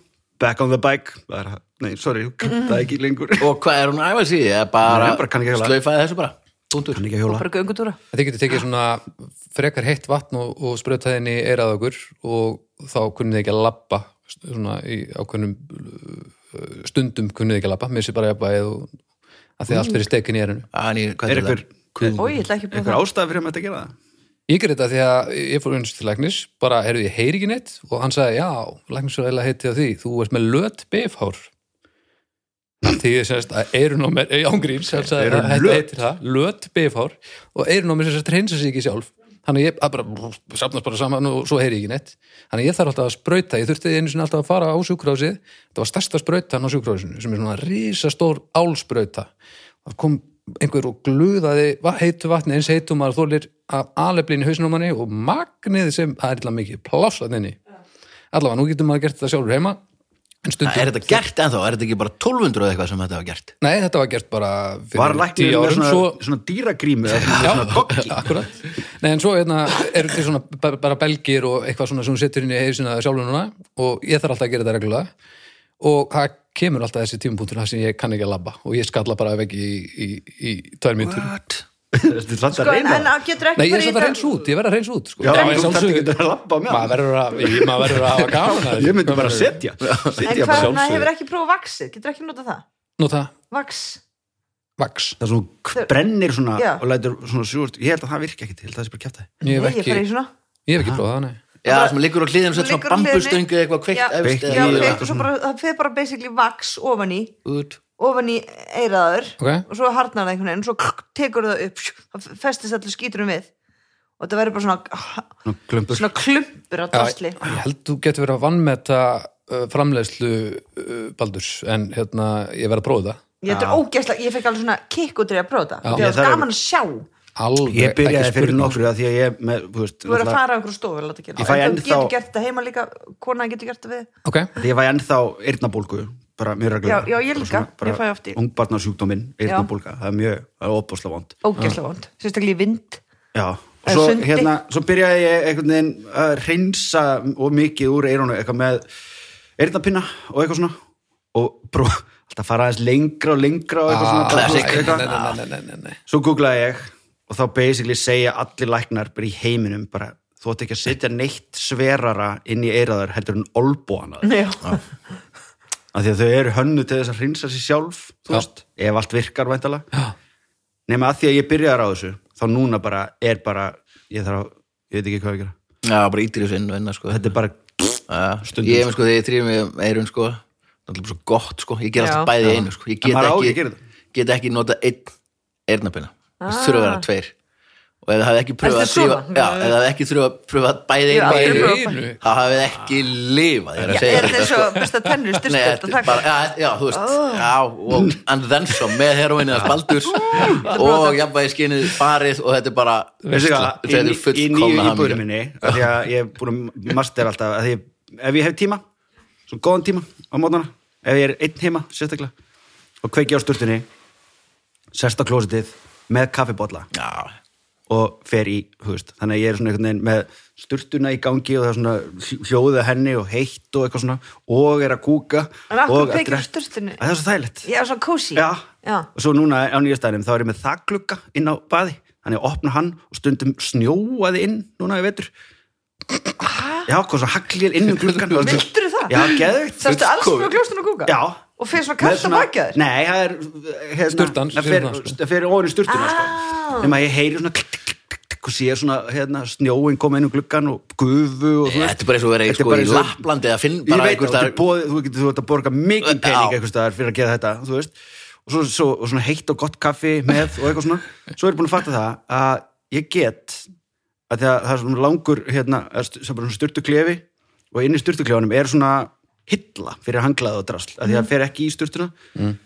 D: back on the bike það er, nei, sorry, það er ekki lengur
A: og hvað er hún að æfa sig Ég er bara,
D: Nei, bara kann ekki hjóla.
A: slaufaði þessu bara Punktur.
D: kann ekki að hjóla
C: bara göngutúra
B: Þið getur tekið svona frekar heitt vatn og, og sprautað henni eirað okkur og þá kunnið þið ekki að labba svona í ákveðnum uh, stundum kunnið þið ekki að labba missið bara jafnvægið og að því að allt fyrir stekin í erinu.
A: Þannig, hvað
D: er
A: er
D: einhver,
A: það?
C: Ó, ég ætla ekki að prófa
D: einhver ástæð fyrir að maður þetta gera það
B: Ég gerði þetta því að ég fór eins til læknis, bara heyrðu ég heyri ekki neitt og hann sagði já, læknisfræðilega heiti á því, þú ert með löt bifhár. Því ég sérst að eirun á mér, ei ángríms, hann sagði
D: Eyrun
B: að þetta
D: löt?
B: heitir það, löt bifhár og eirun á mér sérst reynsa sig ekki sjálf. Þannig að ég að bara, safnast bara saman og svo heyri ég ekki neitt. Þannig að ég þarf alltaf að sprauta, ég þurfti einu sinni alltaf að fara á sjúkrásið, þetta var stærsta sprautan á sjúkrásinu sem er svona risastór álsprauta. Það kom einhver og gluðaði va- heitu vatni eins heitum maður þólir af aleflin í hausnum manni og magnið sem, það er illa mikið, plásatninni. Allavega, nú getur maður gert þetta sjálfur heima, en stundum...
A: Er þetta gert ennþá? Er þetta ekki bara 1200 eða eitthvað sem þetta var gert?
B: Nei, þetta var gert bara
D: var
B: fyrir
D: læknir
B: tíu
D: með
B: árum
D: svona,
B: svo,
D: svona dýragrími eða svona,
B: Já,
D: svona goggi
B: akkurat Nei, en svo hérna, eru til svona bara, bara belgir og eitthvað svona sem hún setur inn í heilsina sjálfur núna og ég þarf alltaf að gera þetta reglulega og það kemur alltaf þessi tímapunktur þar sem ég kann ekki að labba og ég skalla bara veg í, í, í tvær mínútur
A: What?
D: þetta er samt
C: sko,
D: að
C: en,
D: reyna
C: en getur
B: Nei,
C: ekki
B: ég er
C: farið í
B: samt að
C: dag-
B: reyns út, ég verð að reyns út sko.
D: já,
B: Það
D: en
B: er
D: þú þarft
B: sjálfsögðu-
D: ekki að lappa á
B: maður
D: mér
B: verður að, ég- maður verður að hafa gaman að þessu.
D: ég myndi bara að setja setja
C: en
D: bara
C: hvað, það hefur
D: sjálfsögðu
C: ekki prófað vaxið getur ekki nota það,
B: Nota,
C: vaks
B: vax
D: það er svona k- brennir svona
C: Já.
D: og lætur svona sjúrt ég held að það virki ekki til það sé bara kjæft það
B: Ég hef
C: Nei, ég
B: ekki,
C: farið í svona
B: ég hef ekki prófað það, nei
A: Já, það sem liggur á hliðum, settur
C: Liggur
A: svona
C: á hliðinni.
A: bambustöngu eða eitthvað kveikt
C: Já,
A: efst
D: Kveikt
C: Já,
A: eða-
D: í-
C: ok, og svo bara, það fer bara basically vaks ofan í
A: Út.
C: ofan í eiraður
B: Ok.
C: og svo harnar það einhvern veginn og svo klukk, tekur það upp pjú, það festist allir skíturum við og það verður bara svona,
D: klumpur
C: svona klumpur á drastli
B: Já, ég held þú getur verið að vannmeta uh, framleiðslu uh, Baldurs en hérna, ég verð að prófa það
C: ég, þetta er ógeðslega, ég fekk alveg svona kikk út í að prófa
B: Já.
C: það það
D: Ég, það
C: var
D: er-
C: gaman að sjá
B: Alveg,
D: ég byrjaði
B: ekki
D: fyrir
B: spurning.
D: nokkur því að ég með, þú veist
C: þú verður að
D: náttúrulega-
C: fara á einhverju stofu láta gera
D: Ég
C: það.
D: fæ
C: En
D: ennþá-
C: þú getur gert það heima líka kona getur gert það við
B: Ok,
D: Því ég fæ ennþá eyrnabólgu bara mjög reglulega
C: Já, já, ég
D: Bara
C: líka.
D: svona, bara
C: Ég fæ oft í-
D: ungbarnasjúkdóminn, eyrnabólga, það er mjög það er opaslega vond
C: ógeðslega vond, sérstaklega í vind
D: já, og
C: Eða
D: svo
C: sundi.
D: hérna svo byrjaði ég einhvern veginn að reynsa og mikið úr eyrunu eitthvað með eyrnapinna og eitthvað svona og brú, alltaf fara aðeins lengra og lengra og eitthvað
B: Ah,
D: svona bara,
A: classic.
D: þú veist,
B: nei,
D: eitthvað.
B: nei, nei, nei, nei, nei.
D: svo googlaði ég og þá basically segja allir læknar bara í heiminum bara þú átt ekki að setja neitt sverara inn í eiraðar heldur en olbúana
C: Já.
D: af því að þau eru hönnu til þess að hreinsa sér sjálf þú
B: Já.
D: veist, ef allt virkar væntalega
B: Já.
D: nema að því að ég byrjaði á þessu þá núna bara er bara ég þarf að, ég veit ekki hvað ég gera
A: Já, bara ítir þessu inn og inn sko.
D: þetta er bara,
A: Já,
D: Stundum,
A: ég hef sko þegar ég þrýfum með eirun sko það er bara svo gott sko, ég ger alltaf
C: Já.
A: bæði í einu sko. ég
D: En
A: get
D: maður á ekki
A: ekki,
D: að gera það.
A: get ekki nota einn eirnapina, ah. þurfa að vera tveir og ef það hafði ekki pröfað
C: Ertu
A: að þrýfa
C: svona?
A: já, ef það hafði ekki þurfa að pröfa bæði
C: Já,
A: einu í
C: ég er
A: einu,
C: bara-
B: einu.
A: þá hafði ekki lifað ég er að segja
C: er
A: þetta,
C: þetta
D: sko.
C: eins og besta tennur
A: Nei, þetta er
C: styrstof
A: bara, já, já, þú veist já, og, and then some með heroinni að spaldur og jafnvægi skinnið farið og þetta er bara
D: veistu hvað í,
A: þetta er
D: í nýju
A: fullkomna
D: íbúður
A: hamingja.
D: minni af því að ég er búin að master alltaf af því að ef ég hef tíma, svona góðan tíma á mótnana, ef ég er einn heima sérstaklega, og kveiki á sturtunni sérst á klósitið með kaffibólla
A: já,
D: og fer í, þú veist, þannig að ég er svona einhvern veginn með sturtuna í gangi og það er svona hljóðu henni og heitt og eitthvað svona og er að kúka
C: En af hverju
D: og að
C: kveikir á
D: drekka-
C: sturtunni?
D: Að Það er svo þægilegt
C: já, svona kósi
D: Já. og svo núna á nýjastæðinum þá er ég með þagglugga inn á baði þannig að opna hann og stundum snjóaði inn núna í vetur Já, hvað svo hagljél inn um gluggan
C: Vildirðu það?
D: Já, geðvikt
C: Sástu alls með glóstun og kúka?
D: Já.
C: Og fyrir svona kallt á bakja þér?
D: Nei, það er hérna,
B: Sturtan,
D: Það fer,
B: sturtan, sko.
D: það fer ofan í sturtuna
C: Ah.
D: sko. Nefn að ég heyri svona klikk, klikk, klikk, klikk og sé svona hérna, snjóin koma inn um gluggan og gufu og þú
A: Já,
D: veist.
A: Þetta er bara eins og vera í,
D: Þetta er
A: sko,
D: bara
A: í
D: eins og-
A: Lapplandi eða finn
D: Ég
A: bara
D: veit,
A: einhvers
D: og þetta er
A: staðar-
D: boðið- þú getur- þú ert að borga mikið
A: Já.
D: pening einhvers staðar fyrir að gera þetta, þú veist og svo, svo, og svona heitt og gott kaffi með og eitthvað svona, svo er ég búin að fatta það að ég get að því að það er svona langur hérna, er st- sem bara svona styrtu klefi og inn í styrtu klefanum er svona hilla fyrir hanglaði og drasl, að því að það fer ekki í styrtuna mm.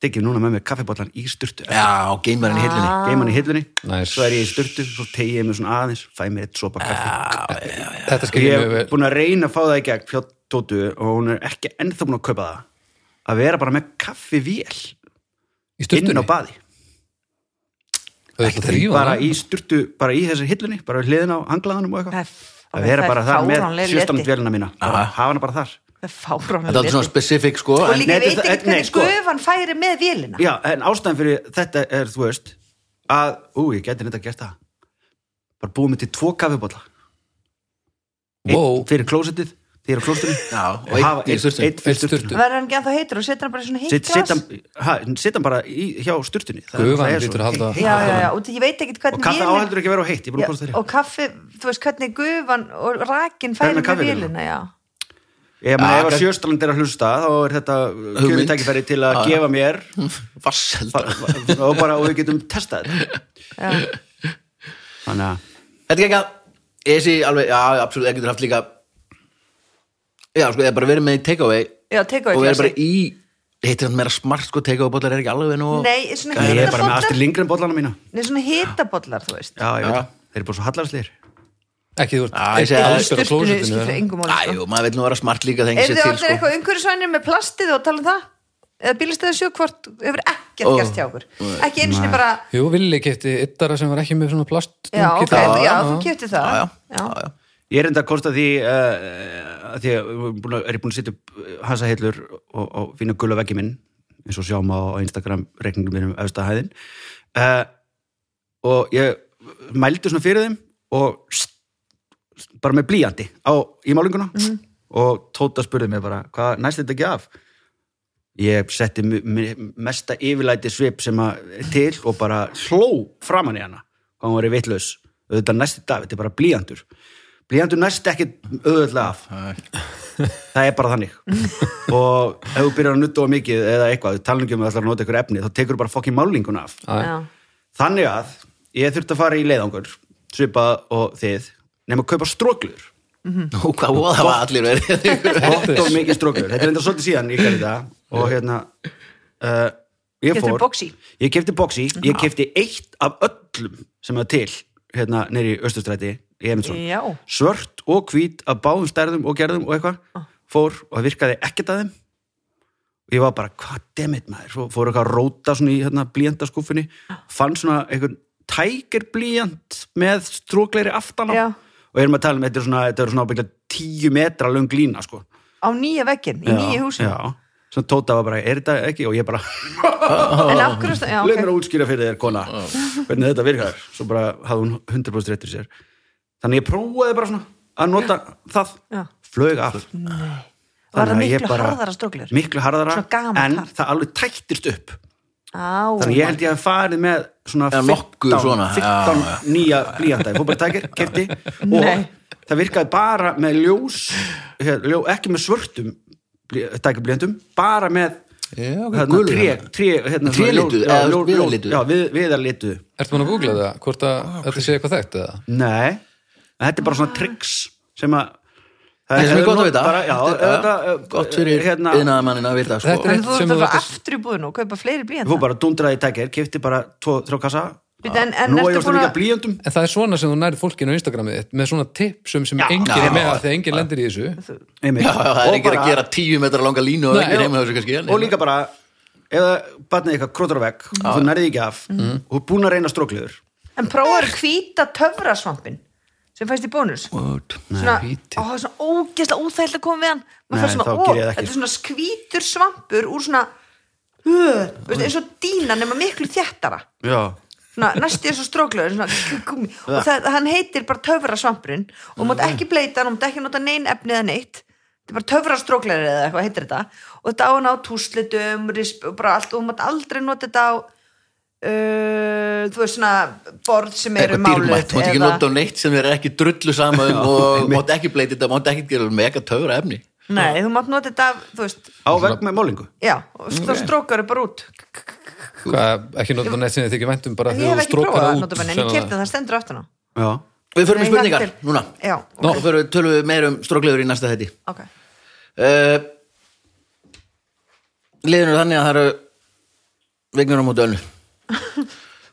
D: tekið núna með mér kaffibollan í styrtu
A: Já, og geimarinn í hillinni
D: geim hann í hillunni,
B: Nice.
D: svo er ég í styrtu svo tegi ég mig svona aðeins, fæ mér eitt sopa kaffi
B: Þetta skil ég
D: ég
B: mjög
D: hef
B: vel
D: búin að reyna að fá það í gegn hjá Tótu og hún er ekki ennþá búin að kaupa það að vera bara með kaffivél
B: Í
D: inn á
B: sturtunni,
D: baði
B: þú ætla að þrýfa
D: bara
B: það
D: í sturtu, bara í þessi hillunni bara við hliðin á hanglaðanum og
C: Það
D: eitthvað
C: er f-
D: að vera
C: það er
D: bara þar með
C: fáránleg leti.
D: sjöstamdvélina mína bara
A: Aha.
D: hafa hana bara þar
C: Það
A: Þetta er
C: er fáránlega
A: alltaf svona
C: leti.
A: specifík, sko
C: Og
D: Nei,
A: en-
D: sko.
C: líka, ég veit
D: þetta-
C: ekki
D: nei,
C: hvernig
D: sko.
C: gufan færi með vélina.
D: já, en ástæðan fyrir þetta er, þú veist að, ú, ég geti neitt að gert það bara búið mér til tvo kaffibólla einn
B: Wow.
D: fyrir klósettið, þegar klósettinu
A: Já, og einn í sturtunni.
D: einn fyrir
B: Einn sturtu.
D: sturtunni
C: verður hann ekki ennþá heitur og setur hann bara í svona heitt
D: Sitt- sitt
C: glas
D: hann- ha, sitt hann bara í, hjá sturtunni Það-
B: Gufan
D: það er
B: lítur
D: svo.
B: að halda-
C: já, já, já, og ég veit ekki
D: og
C: hvernig
D: kaffi
C: vélin-
D: áheldur ekki að vera á heitt, ég búið
C: Já,
D: að komast
C: og
D: það
C: kaffi, þú veist hvernig gufan og rakin færi
D: Hvernig
C: með
D: kaffivélina?
C: vélina já.
D: ég meina
B: Ja,
D: ef að
B: kann-
D: sjöstrand er að hlusta þá er þetta
A: Ah, Hugmynd. Ah,
D: kjöfintækifæri til að
A: Já, já.
D: gefa mér
A: Vasseldra
D: og bara og við getum testað þetta
C: Já.
D: þannig að
A: Þetta er ekki að Esi alveg, já, absolutt, það getur haft líka Já, sko, það er bara verið með í takeaway
C: Já, takeaway
A: Og verið
C: klasi.
A: bara í Heitir hann meira smart, sko, takeaway bólar er ekki alveg nú
C: Nei, svona
D: ég er bara með
C: hitabollar
D: Astrid Lindgren bollana mína
C: Nei, svona hitabollar, þú veist
D: já, já, þeir eru bara svo hallarsleir
B: Ekki þú ert
A: Já, ég segi
B: einn
A: að-
B: allsber á
C: Sturtunni
B: klósettinu,
C: skiptir
B: eða?
C: engum máli sko.
A: Æjú, maður vil nú vera smart líka þegar
C: Eru
A: sér
C: þið
A: til,
C: allir
A: sko
C: eitthvað umhverjusvænir með plastið og tala um það? Eða bílistæðu sjökvort hefur ekkert
A: Ó.
C: gerst hjá okkur Ekki einu sinni bara
B: Jú, Villi kefti yttara sem var ekki með svona plast
C: Já, ok,
A: það.
C: já, þú kefti það
A: Já, já,
C: Já.
A: já, já
D: Ég er enda að kosta því uh, að því að við erum búin að- er ég búin að setja upp hansa heillur og, og finna gula veggi minn eins og sjáum á á Instagram reikningum mínum efsta hæðin uh, og ég mældi svona fyrir þeim og st, bara með blíjandi á í málinguna og Tóta spurði mig bara hvað næst þetta ekki af ég setti mi- mi- mesta yfirlæti svip sem að til og bara hló framan í hana hvað hún var í vitlaus auðvitað næsti dag, þetta er bara blíjandur blíjandur næst ekki auðvitað af það er bara þannig og ef þú byrjar að nutta of mikið eða eitthvað, talningum um að það ætlar að nota ykkur efni þá tekur bara fokkin málinguna af
C: Já.
D: þannig að ég þurfti að fara í leiðangur svipað og þið nema að kaupa stróklur
A: Nú, hvað voða var allir verið
D: gott og mikið strókur þetta er enda svolítið síðan ég gerði það og hérna uh, ég
C: Keyptirðu
D: fór
C: boxi?
D: ég kefti boxi, ég kefti eitt af öllum sem er til hérna neyri Östustræti í Emilsson
C: Já.
D: svört og hvít af báðum stærðum og gerðum og
C: Ah.
D: eitthvað fór og það virkaði ekkert að þeim og ég var bara, hvað demit maður svo fór eitthvað að róta svona í hérna, blíjantaskúfunni
C: Ah.
D: fann svona einhvern tækir blíjant með strókleiri aftan
C: Já.
D: á og erum að tala um, þetta er svona, þetta er svona ábyggla tíu metra löng lína sko
C: Á nýja veggin, í nýju húsin
D: já. Svo Tóta var bara, er þetta ekki? Og ég bara,
C: En af hverju Já,
D: leið mér að
C: ok
D: útskýra fyrir þér, kona Hvernig þetta virkar Svo bara hafði hún 100% réttur sér Þannig ég prófaði bara svona að nota það
C: Já.
D: Flög af
C: Var það
D: Þannig að ég
C: miklu
D: bara-
C: harðara stróklur?
D: Miklu harðara,
C: Svona gamalt
D: en
C: hart.
D: það alveg tættist upp
C: Á,
D: Þannig ég held ég að farið með svona
A: Já,
D: 15,
A: nokkuð svona, já,
D: 15 nýja blíjanda Ég fór bara tækir, kefti og
C: Nei.
D: það virkaði bara með ljós hér, ljó, ekki með svörtum tækiblíjandum, bara með
A: Já, ok,
D: hérna,
A: gulur
D: tré, tré, hérna, svona
A: Trélituð,
D: ljós-
A: eða
D: já, ljó-
A: viðarlituð.
D: já, við, viðarlituð
B: Ertu maður að googla það? Hvort að þetta sé eitthvað þekkt eða?
D: Nei, þetta er bara svona tricks sem að
A: Það er sem er
D: hefur
A: gott að
D: nú-
A: vita
D: bara, já,
A: Þetta er
D: þetta,
A: bara
D: eh,
A: Gott fyrir
D: hérna,
A: yðnaðamannina að vita, sko
B: Þetta
C: En
B: er-
C: þú
B: sem
C: ert að
B: þú
C: fara
B: áttist-
C: aftur í búðinu og kaupa
D: Ég
C: fleiri
D: fór
C: blíðan
D: bara að dundraði í tækir, kefti bara tvo, þrjá kassa
C: Bíddu, en- en
D: Nú að
C: ertu
D: ég varst
C: búin
D: að
C: að-
D: líka blíjöndum
B: En það er svona sem þú nærið fólkinu á Instagramið þitt, með svona tipsum sem
D: Já.
B: enginn
A: Já.
B: er með að þegar enginn lendir í þessu
A: Já, já, það er ekki að gera tíu metra langa línu og
B: Nei,
A: ekki
B: já.
A: reyma þessu kannski en-
D: Og líka bara, eða batnið eitthvað krótur á vekk og þú nærði ekki af
C: Mhm.
D: og er búin að reyna strókliður
C: En prófaður hvíta töfrasvampin sem fæst í bónus
A: What?
C: svona,
B: hvíti.
C: ó, það er svona ógeðslega óþægilega að koma við hann maður
D: Nei,
C: fær svona,
D: þá
C: ó,
D: geri ég það ekki.
C: þetta er svona skvítur svampur úr svona uh, veist, eins og dýna nema miklu þjættara
D: Já
C: svona, næstu eins og stróklaður svona, k- gúmmí. og það, hann heitir bara töfrasvampurinn og mátt ekki bleita hann, og mátt ekki nota nein efni eða neitt þetta er bara töfrastróklaður eða eitthvað heitir þetta og þetta á hann á túslitum risp, og bara allt og mátt aldrei nota þetta á uh, þú veist svona borð sem eru
A: eitthvað
C: máluð
A: dýrmætt, þú mátt ekki
C: eða-
A: nota á neitt sem þér er ekki drullu sama um og mátt ekki bleita þetta, mátt ekki gera mega töfra efni
C: Nei, þú mátt nota þetta, af, þú veist
D: Á vekk með málingu
C: Já, og okay. þá strókar þau bara út
B: Hvað, ekki nota neitt sem þið þykir væntum bara
C: En ég
B: þegar
C: hef
B: þú
C: ekki
B: strókar
C: prófað
B: það
C: það
B: út
C: notabene, en ég
B: sennilega.
C: kefti það, það stendur aftan á
D: Já
A: Við förum í
C: Nei,
A: spurningar
C: ég hlakka til.
A: núna
C: Já,
A: Nú förum við tölum við meir um stróklegur í næsta þetti
C: ok
A: uh, Liðinu er þannig að það eru Vignur á móti önnu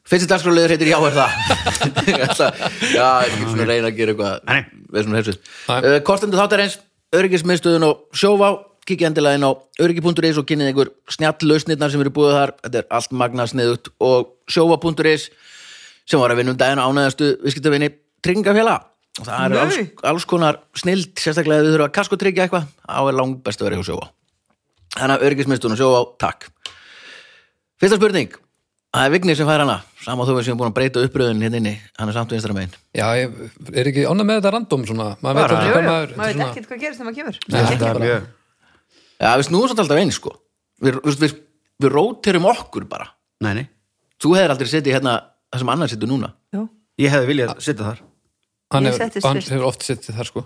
A: Fyrsti dagskráliður heitir Já er það Ég ætla, Já, ég er svona að reyna að gera eitthvað
D: Nei.
A: Við erum svona hefsið
B: Nei.
A: uh, Kostendur þáttarins, öryggismiðstöðun og sjóvá Kikið endilega inn á öryggi.is og kynnið ykkur snjallausnirnar sem eru búið þar Þetta er allt magna sniðugt og sjóvá.is sem var að vinna um daginn ánæðastu viðskiptavinni tryggingafélag og það eru
C: Nei.
A: alls, alls konar snild sérstaklega ef við þurfum að kaskotryggja eitthvað á er langt best að vera hjá sjóa þannig að örgismistun og sjóa, takk fyrsta spurning Það er Vignir sem fær hana Sama þú við séum búin að breyta uppröðin hérna inni Hann er samt vinstra megin
B: Já, ég er ekki ánægð með þetta random svona maður veit
D: Bara-
B: aldrei
C: Jú,
B: hvað
C: jú,
B: maður þetta er
C: maður veit
B: svona-
C: ekkert hvað gerist þegar maður kemur
B: Nei,
D: Þetta
B: þetta
D: er
B: er bara-
D: mjög-
A: Já, við snúum samt alltaf eins sko Við, við, við, við róterum okkur bara
D: Nei, nei,
A: Þú hefur aldrei setið hérna Það sem annar setur núna
C: Jú.
D: ég hefði viljað sitja þar
B: hann
C: Ég
B: hefur-
C: settist
B: hann
C: fyrst.
B: hefur oft sett þar sko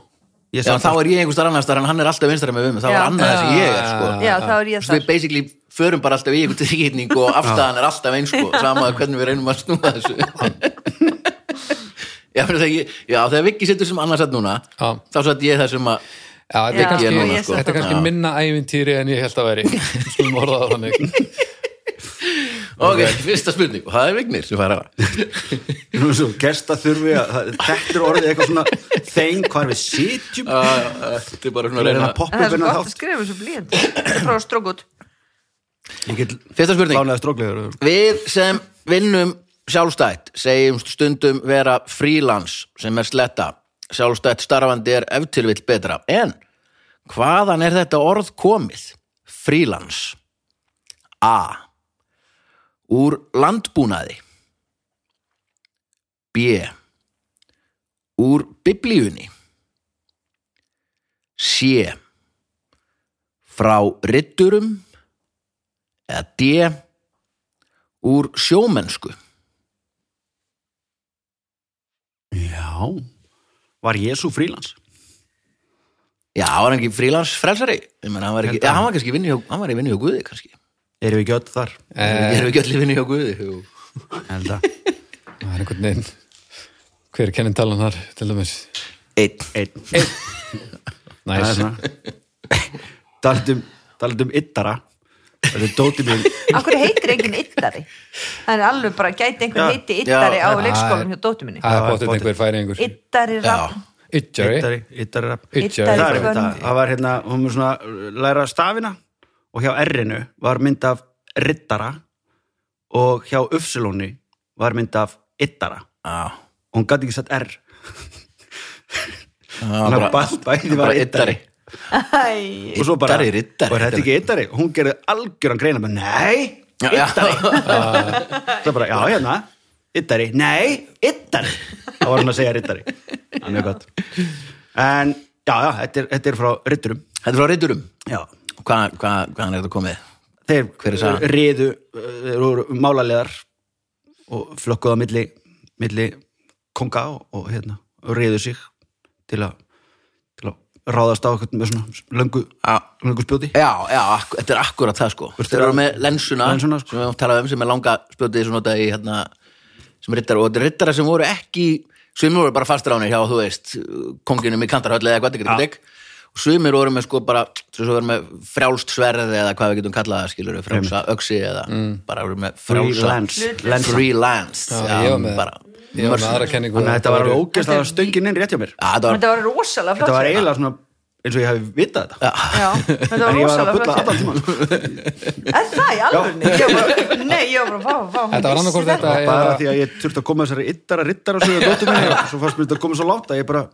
D: Ég
A: Já,
D: sat
A: þá
D: þar.
A: er ég einhvers þar annars þar En hann er alltaf vinstra megin við mig Það
C: Já.
A: var annað þessi ég er sko
C: Já, þá er ég
A: Svo við
C: þar
A: basically förum bara alltaf í einhvern tilkynning og afstæðan er alltaf eins sko, sama hvernig við reynum að snúa þessu já, menn það ég, já, þegar Viki sittur sem annars að núna
B: Já.
A: þá satt ég það sem að
B: Já, þetta er
C: Já,
B: kannski,
A: ég núna, sko.
B: þetta er kannski
A: Já.
B: minna ævintýri en ég held að veri Skulum orða það þannig
A: ok, fyrsta spurning, og það er Vignir sem fær að
D: Nú svo, gesta þurfi að það- þetta er orðið eitthvað svona þeng hvar við sitjum
A: Já, já, Ah, þetta er bara
D: Það
A: svona að
D: er
A: reyna
D: að poppa
C: En það er
D: upp innan
C: svo gott sko. að
D: þátt
C: skrifa þessu blíðan Prófa að stróka út
D: Ég get
A: fyrsta spurning,
D: lánaði stróklegur
A: við sem vinnum sjálfstætt, segjum stundum vera frílans sem er sletta sjálfstætt starfandi er ef til vill betra, en hvaðan er þetta orð komið? Frílans A. Úr landbúnaði B. Úr biblíunni C. Frá ritturum eða D. Úr sjómennsku
D: Já, var Jésu frílans?
A: Já, hann var ekki frílans frelsari Ég meina, hann var ekki,
D: Held að-
A: ja, hann var kannski vinnu hjá, hann var í vinnu hjá Guði kannski
D: Erum við ekki öll þar?
A: Ég er ekki allir vinnu hjá Guði jú.
D: Held að
B: Það er einhvern veginn Hver er kennintalan þar, til dæmis
A: Einn
D: Einn, það er
B: Næs,
D: svona um- Taldum, taldum yttara Þetta er dótið mín
C: Akkur heitir enginn yttari Það er alveg bara, gæti einhver
D: Já.
C: heiti yttari
A: Já.
C: á leikskólanum hjá dóttu minni
B: það er
D: Já,
B: bóttið
D: pottet.
B: einhver færi einhver
C: Yttari rafn
B: Itjari
D: Yttari, yttari rafn.
B: Itjari
D: Það er
C: Bönn.
D: þetta, það var hérna, hún var svona uh, læra stafina og hjá R-inu var mynd af rittara og hjá Ufsilóni var mynd af yttara
A: Já,
D: og hún gæti ekki sett R
A: hann
D: Hann
A: var
D: bara
A: bara,
D: bæ- bæði
A: bara,
D: var
A: bara
D: yttari
A: yttari
C: Æ,
D: og svo bara,
A: Yddari, riddari,
D: var þetta ekki yttari hún gerði algjöran greina, bara nei
A: Já, já.
D: yttari það bara, já hérna, yttari nei, yttari, þá var hann að segja rittari það er mjög gott en, já, já, þetta er, þetta er frá ritturum,
A: Þetta er frá reyturum
D: já
A: Hvað hva, hvaðan er þetta komið?
D: þeir
A: Hver er sagan?
D: Eh, riðu þeir voru málalegar og flökkuðu á milli, milli konga og, og hérna og riðu sig til að, til að ráðast á eitthvað með svona löngu, löngu spjóti
A: Já, já, akku- þetta er akkurat það sko
D: Veistu
A: Þeir eru
D: það?
A: með lensuna,
D: Lensuna, sko.
A: sem við höfum talað um sem er langa spjótið sem notaði í hérna sem rittara og þetta er rittara sem voru ekki sumir voru bara fastaránir hjá, þú veist konginum í kantarhöll eða hvað þetta getur og sumir voru með sko bara svo voru með frjálst sverð eða hvað við getum kallað það skilur frjálsa öksi eða bara voru með frjálsa
D: Mm. Freelance, lensa.
A: freelance
B: Já, ég var með-
A: bara
B: Ég var með
A: mörsu.
B: aðra kenningu
D: þannig að þetta var
B: voru-
D: ógeðslega stöngin inn rétt hjá mér
A: Já, þetta var
C: þetta var rosalega
D: þetta
C: flott
D: var
C: hérna.
D: eiginlega svona eins og ég hafi vitað þetta
C: Já, þetta var
D: en ég var að
C: rosalega
D: bulla
C: flott hérna.
D: allan tíma
C: Er það í alvörni? Ég var bara, nei, ég var bara, vá, vá hún
B: Þetta var
C: vissi
B: annarkort þetta
D: bara
B: eða-
D: því að ég þurfti að koma þessari yttara rittara og dóttu minni og svo fannst mér þetta að koma svo látt að ég bara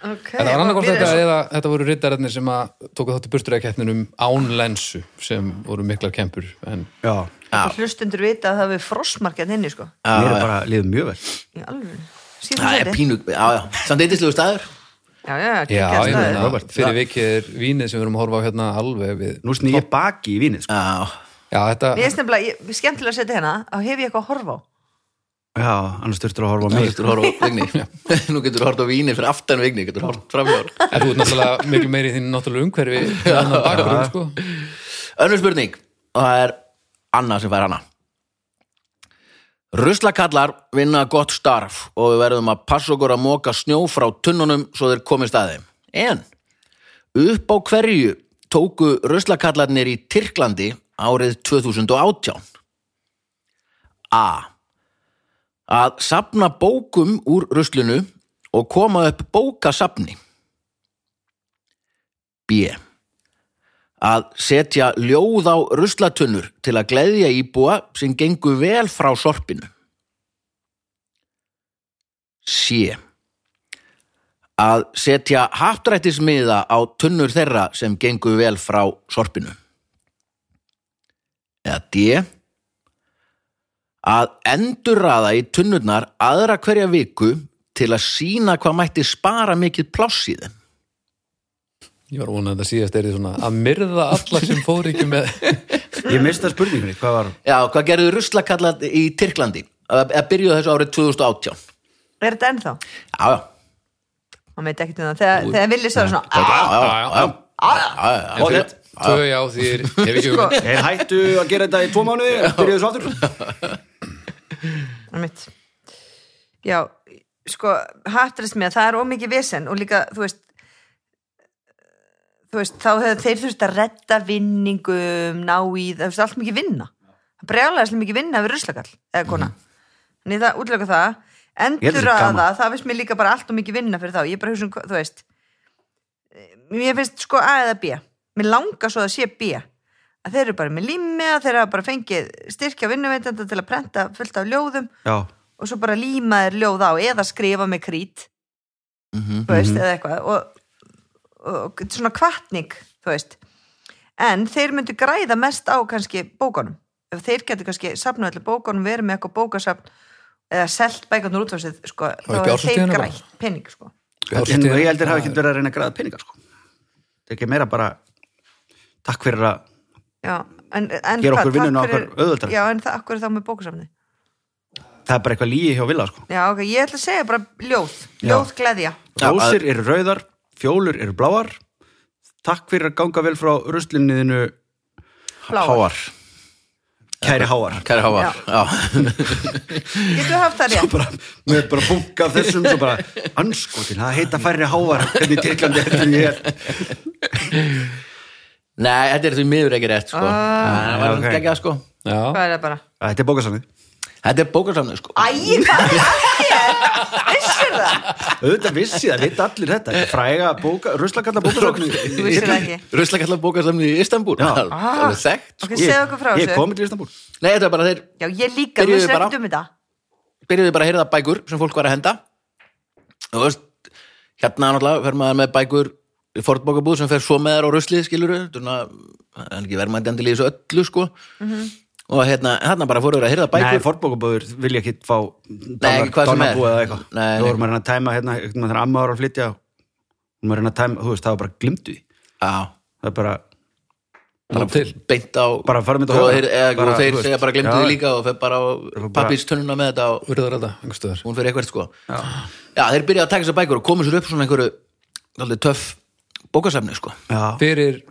C: Ok,
B: Þetta var annarkort
C: við
B: þetta
C: erum-
B: eða þetta voru riddararnir sem að tóku þátt í burturæðakeppninum án lensu sem voru miklar kempur en
D: já,
C: Hlustundur vita að það við frosmarkað inni, sko
D: mér er bara liðið mjög vel
C: Í alvörni Sýnum
A: Það er
C: þetta
A: pínu, já, já, samt eitthislegu staður
C: Já, já,
B: já,
C: geggjað
B: ég
C: staður.
B: meina,
D: Robert,
B: fyrir
D: það-
B: vikið er vínið sem við erum að horfa á hérna alveg við
D: nú sný ég baki í vínið sko.
A: Já,
B: Já, þetta,
C: Mér finnst nefnilega, ég- skemmtilega að setja hérna að hef ég eitthvað að horfa á
D: já, annars þurftur að horfa á
A: nú
D: mig
A: getur þú horfa á vigni Nú getur þú horfa á víni fyrir aftan vigni getur þú horfa framhjá
B: En þú ert náttúrulega miklu meiri í þín náttúrulega umhverfi en að bakgrunn, sko.
A: Önnur spurning, og það er Anna sem fær hana Ruslakallar vinna gott starf og við verðum að passa okkur að móka snjó frá tunnunum svo þeir komist að þeim En upp á hverju tóku ruslakallarnir í Tyrklandi árið 2018 A að sapna bókum úr ruslinu og koma upp bókasapni B að setja ljóð á ruslatunnur til að gleðja íbúa sem gengur vel frá sorpinu. C. Að setja haftrættismiða á tunnur þeirra sem gengur vel frá sorpinu. Eða D. að endurraða í tunnurnar aðra hverja viku til að sína hvað mætti spara mikið pláss í þeim.
B: Ég var að vona að þetta síðast er svona að myrða alla sem fór ekki með
D: Ég mista spurningunni, hvað var
A: Já, hvað gerðu ruslakallat í Tyrklandi? Að að byrjuðu þessu árið 2018.
C: Er þetta ennþá?
A: Já, já.
C: Hann veit ekki um það. Þegar, þegar Vili sagði svona,
A: Já,
C: "Ah,
A: já, já, já. Já, já, já.
D: Ok.
B: Tvö já því er, hef ekki
C: Sko.
B: hugmynd.
D: Þeir hættu að gera þetta í tvo mánuði Byrjuðu svo aftur
C: hann mitt. Já, sko, hattrist mér, það er ómikið vesen og líka, þú veist, þú veist, þá hefur þeir þurft að redda vinningum, ná í, það er allt mikið vinna. Það brjálega allt mikið vinna við ruslakall, eða kona. Þannig það, útlega það,
D: held að
C: endur
D: þetta sé
C: að
D: gaman.
C: það, það finnst mér líka bara allt og mikið vinna fyrir þá. Ég er bara hugsa um, hvað- þú veist, mér finnst sko A eða B. Mér langar svo að sé B. Að þeir eru bara með límiða, þeir hafa bara fengið styrkja vinnuveitenda til að prenta fullt af ljóðum
D: Já,
C: og svo bara líma þér ljóð á eða skrifa með krít
D: Mhm,
C: þú veist, eða eitthvað og, og svona kvartning þú veist en þeir myndu græða mest á kannski bókunum ef þeir getur kannski safnað allir bókunum, verið með eitthvað bókasafn eða selt bækarnar útvarsið sko, þá
B: ekki
C: er þeir
B: árshátíðina bara?
C: grætt pening sko.
D: en ég heldur hafa ekki verið að reyna að græða peningar sko. Það er ekki meira bara Takk fyrir að
C: Já, en, en
D: Gera
C: hvað,
D: okkur vinnuna
C: takk fyrir-
D: okkar auðveldari.
C: Já, en það akkur er þá með bókasafni
D: það er bara eitthvað lígi hjá Villa sko.
C: Já, ok, ég ætla að segja bara ljóð ljóð gleðja
A: Já,
D: Rósir eru rauðar, fjólur eru bláar Takk fyrir að ganga vel frá ruslinniðinu
C: bláar.
D: Kæri háar
A: Kæri hávar. Já.
C: Getur haft það rétt?
D: bara, Mér er bara bunga af þessum svo bara, anskotin, það heita færri háar hvernig Tyrklandi heldur ég er
A: Nei, þetta er því miður ekki rétt, sko.
C: Ah.
A: Það var
D: Ok.
A: okay. geggjað, sko.
B: Já,
C: Hvað er það bara?
D: Þetta er bókasamnið
A: Þetta er bókarsafnið, sko.
C: Æ, hvað er það? Vissir það?
D: Auðvitað vissi það, veit allir þetta Þetta er Fræga bóka, ruslakalla
C: Þú
D: bókasamnið
C: vissir það ekki.
A: Ruslakallat bókarsafnið í Istanbúl.
D: Já.
A: Það er alveg þekkt.
C: Ok, segðu okkur frá
D: Ég er
C: þessu.
D: komin til Istanbúl
A: Nei, þetta er bara þeir
C: Já, ég líka, þú
A: Byrjuðu
C: vissir
A: bara.
C: ekkert um þetta.
A: byrjuðu bara að heyrða bækur sem fólk var að henda og veist, hérna náttúrulega fer maður með bækur í fornbókabúð sem fer svo með þær á ruslið skilur það er ekki verðmændi endilega í þessu öllu sko og hérna, hérna bara fóruður að heyrða bækur
D: Mhm. Nei, fornbókabóður vilja ekki fá
A: ekki hvað sem er.
D: Donnabúið eða eitthvað
A: Nei,
D: Nú
A: nei.
D: erum maður að tæma hérna, einhvern veginn þegar amma var að flytja Hún var að reyna að tæma, þú veist, það var bara glimtu því
A: Já,
D: Það er bara,
B: hann til
A: beint á
D: Bara fara mynd á
A: og,
D: höfða.
A: þeir, eða,
D: Bara,
A: og þeir
D: þú veist.
A: segja bara glemdu
D: Já.
A: því líka og fer bara á
D: bara-
A: pappís tönnuna með þetta og
B: Urðar þetta, einhver stöðar
A: hún fyrir eitthvað sko Já, þeir byrja að taka þessar bækur og koma sér upp svona einhverju dálítið töff bókasafni sko
D: já,
B: Fyrir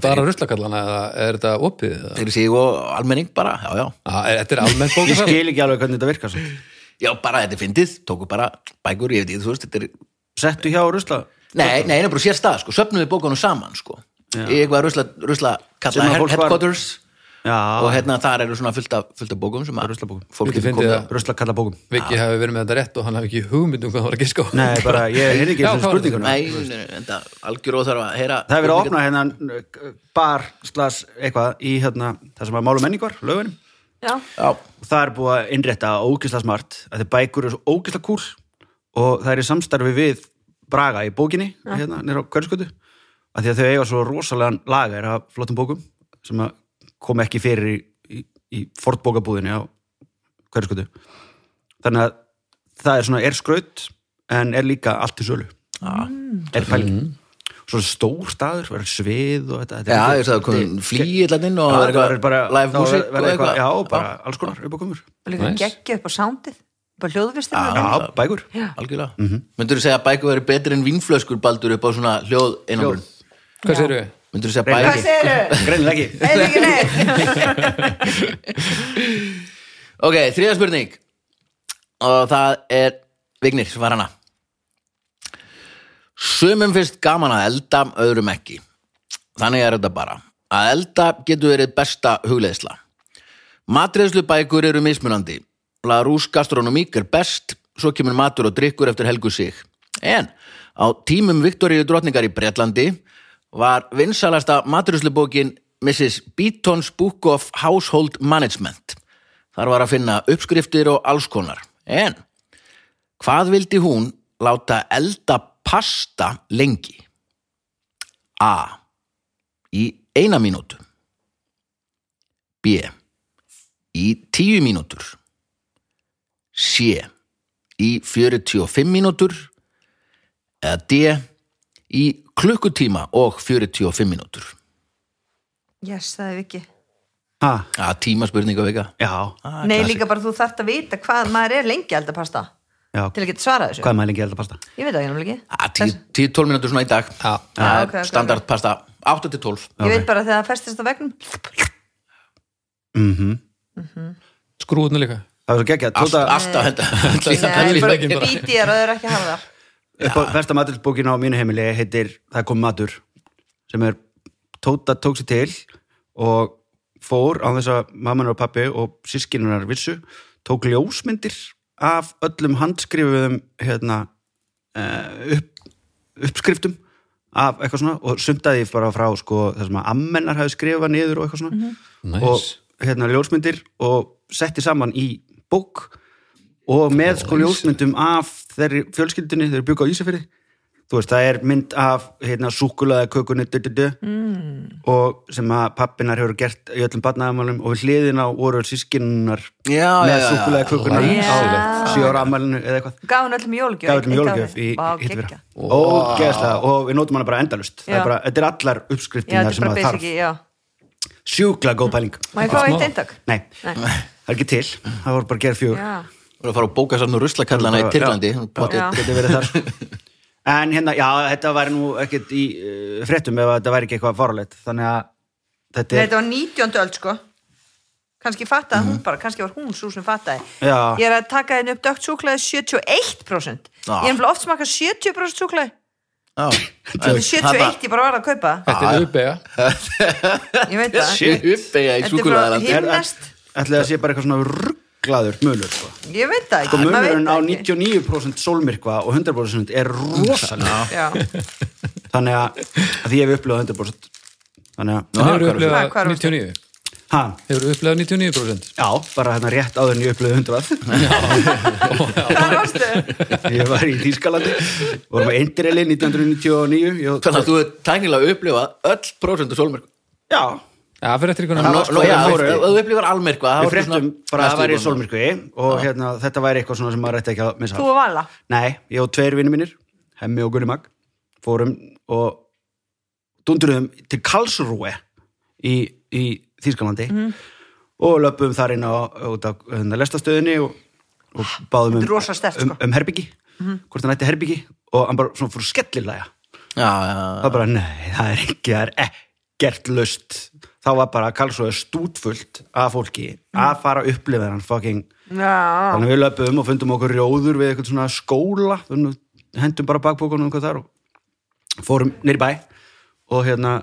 B: bara ruslakallana eða er þetta opið? eða?
A: fyrir sig og almenning bara, já, já
B: Já, Ah, er- Þetta er almennt
D: ég
B: bókasafn
D: skil ekki alveg hvernig þetta virkar svo.
A: Já, bara þetta er fyndið, tóku bara bækur, ég veit ekki, þú veist, þetta er
D: Settu hjá rusla
A: Nei, nei, það er bara sér stað, sko, söfnum við bókunum saman, sko Í eitthvað rusla, rusla kalla
D: Sem að
A: her,
D: fólk var- Ah.
A: headquarters
D: Já,
A: Og hérna þar eru svona fullt af, fullt af bókum sem að
D: Ruslabókum.
A: Fólk
B: Þetta
A: getur
B: fyndið
A: komið
B: að-
D: rusla kalla bókum
B: Viki hafi verið með þetta rétt og hann hafi ekki hugmynd um hvað hann var að giska á
D: Ah. Nei, bara, ég er ekki þessu
B: Já, hvað var þetta?
D: spurningunum
A: Nei, nei, þetta algjör óþarf að heyra
D: Það er verið að opna hérna uh, bar, slas, eitthvað í hérna, það sem að málu menning var, lögunum
C: Já.
A: Já,
D: og það er búið að innrétta ógisla smart að þið bækur eru svo ógisla kúl og það er í samstarfi við Braga í bókinni, hérna, nýra á Kvölskötu að því að þau eiga svo rosalega lagar af flottum bókum sem að kom ekki fyrir í, í, í fortbókabúðinni á Kvölskötu þannig að það er svona er skraut en er líka allt til sölu er pæling svo stór staður, verður svið og þetta, þetta
A: Mm. já
D: er-
A: ég sagði, komið flýillan hérna inn og
D: Já,
A: verður
D: það verður bara
A: live
D: þá
A: music
D: verður- verður
A: og
D: eitthvað-
A: eitthvað
D: Já, bara alls konar upp á komur
C: Og líka
B: Nice.
C: geggja upp á soundið, bara hljóðvistina.
D: Já, bækur
A: algjörlega
D: Mhm.
A: Myndirðu segja að bækur verið betri en vínflöskur baldur upp á svona hljóð einangrun
B: Hvað segir við?
A: Myndirðu segja
D: Reyni
A: bækur
C: Hvað segirðu?
D: Greinilega ekki
C: Eða ekki neitt?
A: Ok, þriða spurning og það er Vignir, svar hana Sumum finnst gaman að elda öðrum ekki Þannig er þetta bara að elda getur verið besta hugleiðsla Matreiðslubækur eru mismunandi La Rús gastronomík er best svo kemur matur og drikkur eftir helgu sig En á tímum Viktoríu drottningar í Bretlandi var vinsalasta matreiðslubókin Mrs. Beaton's Book of Household Management Þar var að finna uppskriftir og alls konar. En hvað vildi hún láta elda pasta lengi? A. Í eina mínútu. B. Í í 10 mínútur C í 45 mínútur eða D í klukkutíma og 45 mínútur
C: yes, það er ekki
D: Ha,
A: að tíma spurninga vika
D: já,
C: nei, líka bara þú þarft að vita hvað maður er lengi að elda pasta
D: já.
C: til að geta svarað þessu
D: Hvað er maður lengi að elda pasta?
C: ég veit það ekki náttúrulega ekki
A: að 10-12 mínútur svona í dag
B: Já.
C: Já,
A: það
C: ok, ok,
A: er standardpasta 8-12
C: ég veit bara þegar það festist á vegnum
D: Mm
B: Skrúðinu líka
D: Það er svo geggja, tóta
A: alltaf
C: Nei,
A: þetta
C: bara
B: ekki bara.
C: bíti ég er og þau eru ekki að hafa það
D: upp á versta matilsbókin á mínu heimili heitir Það kom matur sem er Tóta tók sér til og fór á þess að mamman og pappi og sískinunar vissu tók ljósmyndir af öllum handskrifuðum hérna, eh, upp, uppskriftum af eitthvað svona og sumtaði bara frá sko, það sem að ammennar hafi skrifað niður og eitthvað svona
B: Næs.
D: og hérna ljósmyndir og setti saman í bók og með sko ljósmyndum af þeirri fjölskyldinni, þeirri byggu á Ísafyrði þú veist, það er mynd af hérna, súkulaða kökunni du, du, du, mm. og sem að pappinar hefur gert í öllum barnaðamálum og við hliðina voru sískinnar
A: Já,
D: með
A: já, já.
D: súkulaða kökunni
B: Já.
D: á sjóra ammælinu eða eitthvað
C: gaf hún öllum jólugjöf
D: gaf öllum jólugjöf í hittifyrra og geðslega, og við notum hana bara endalust það
C: Já.
D: er bara, þetta er allar
C: já,
D: uppskriftingar
C: þetta er
D: sem
C: bara
D: að þarf
C: basic já.
D: sjúkla góð pæling
C: má ég fá eitt eintak
D: nei,
C: Nei.
D: það er ekki til það voru bara að gera fjögur
C: já,
A: að fara að bóka sann og ruslakallana í
D: Já.
A: Tyrklandi Pottþétt.
C: Já.
D: geti verið þar en hérna, já, þetta væri nú ekkert í uh, fréttum ef þetta væri ekki eitthvað farulegt þannig að þetta
C: Nei,
D: er
C: þetta var 19. öld sko kannski fattaði hún bara, kannski var hún svo sem fattaði
D: Mhm. Já.
C: ég er að taka henni upp dögt súklaði 71% ég
A: Ah.
C: er nefnilega oft smaka 70% súklaði
A: Já.
C: þetta er 71, ég bara var að kaupa
D: Ah,
B: Þetta er uppega
C: ég veit það
A: Sé uppeyja í
C: Þetta er
A: súkulaðalandi
C: frá
D: Er-
C: himnest.
D: ætli það sé bara eitthvað svona rugglaður munur sko.
C: ég veit það
D: sko
C: ekki, maður veit
D: munurinn á
C: það ekki
D: 99% sólmyrkva og 100% er rosalega
C: já,
D: þannig að að því ég hef upplöðað 100% þannig að,
B: Hefur
A: hvað er
C: það?
B: upplegað
C: Hvað er
B: 99?
D: ha,
B: Hefur upplegað 99%?
D: já, bara hérna rétt áður en ég upplöðið 100%
C: hvað varstu?
D: ég var í Þýskalandi vorum að Eindreli 1999 ég,
A: Þannig að þú er tæknilega upplifað öll prósentu sólmyrk
D: já,
B: Já, það fyrir eftir ykkur
A: Nó-
D: var
A: nó-
D: sko-
A: já,
D: það
A: þú
D: voru-
A: veist, ef þú upplifar almyrkva þá
D: við
A: ertu
D: fréttum
A: svona
D: bara að hérna-
A: næstu
D: það væri
A: í búinu.
D: sólmyrkvi og hérna, þetta væri eitthvað svona sem maður ætti ekki að missa
C: þú og Vala
D: Nei, ég og tveir vinnir mínir, Hemmi og Gunni Mag, fórum og dundruðum til Karlsruhe í, í Þýskalandi
C: Mhm.
D: og löpum þar inn á, út á hérna, lestastöðinni og, og báðum
C: Þetta er
D: um,
C: rosa sterkt,
D: um,
C: sko.
D: um herbyggi, hvort hann ætti herbyggi og hann bara svona fór skellilega.
A: Já, já,
D: Það bara, nei, það er ekki, það er ekkert löst. Þá var bara Karlsruhe stútfullt af fólki að fara að upplifa hann fucking
C: já,
D: Þannig að við löpum og fundum okkur rjóður við eitthvað svona skóla, þannig að hendum bara bakbókunum eitthvað þar og fórum nýri bæ og hérna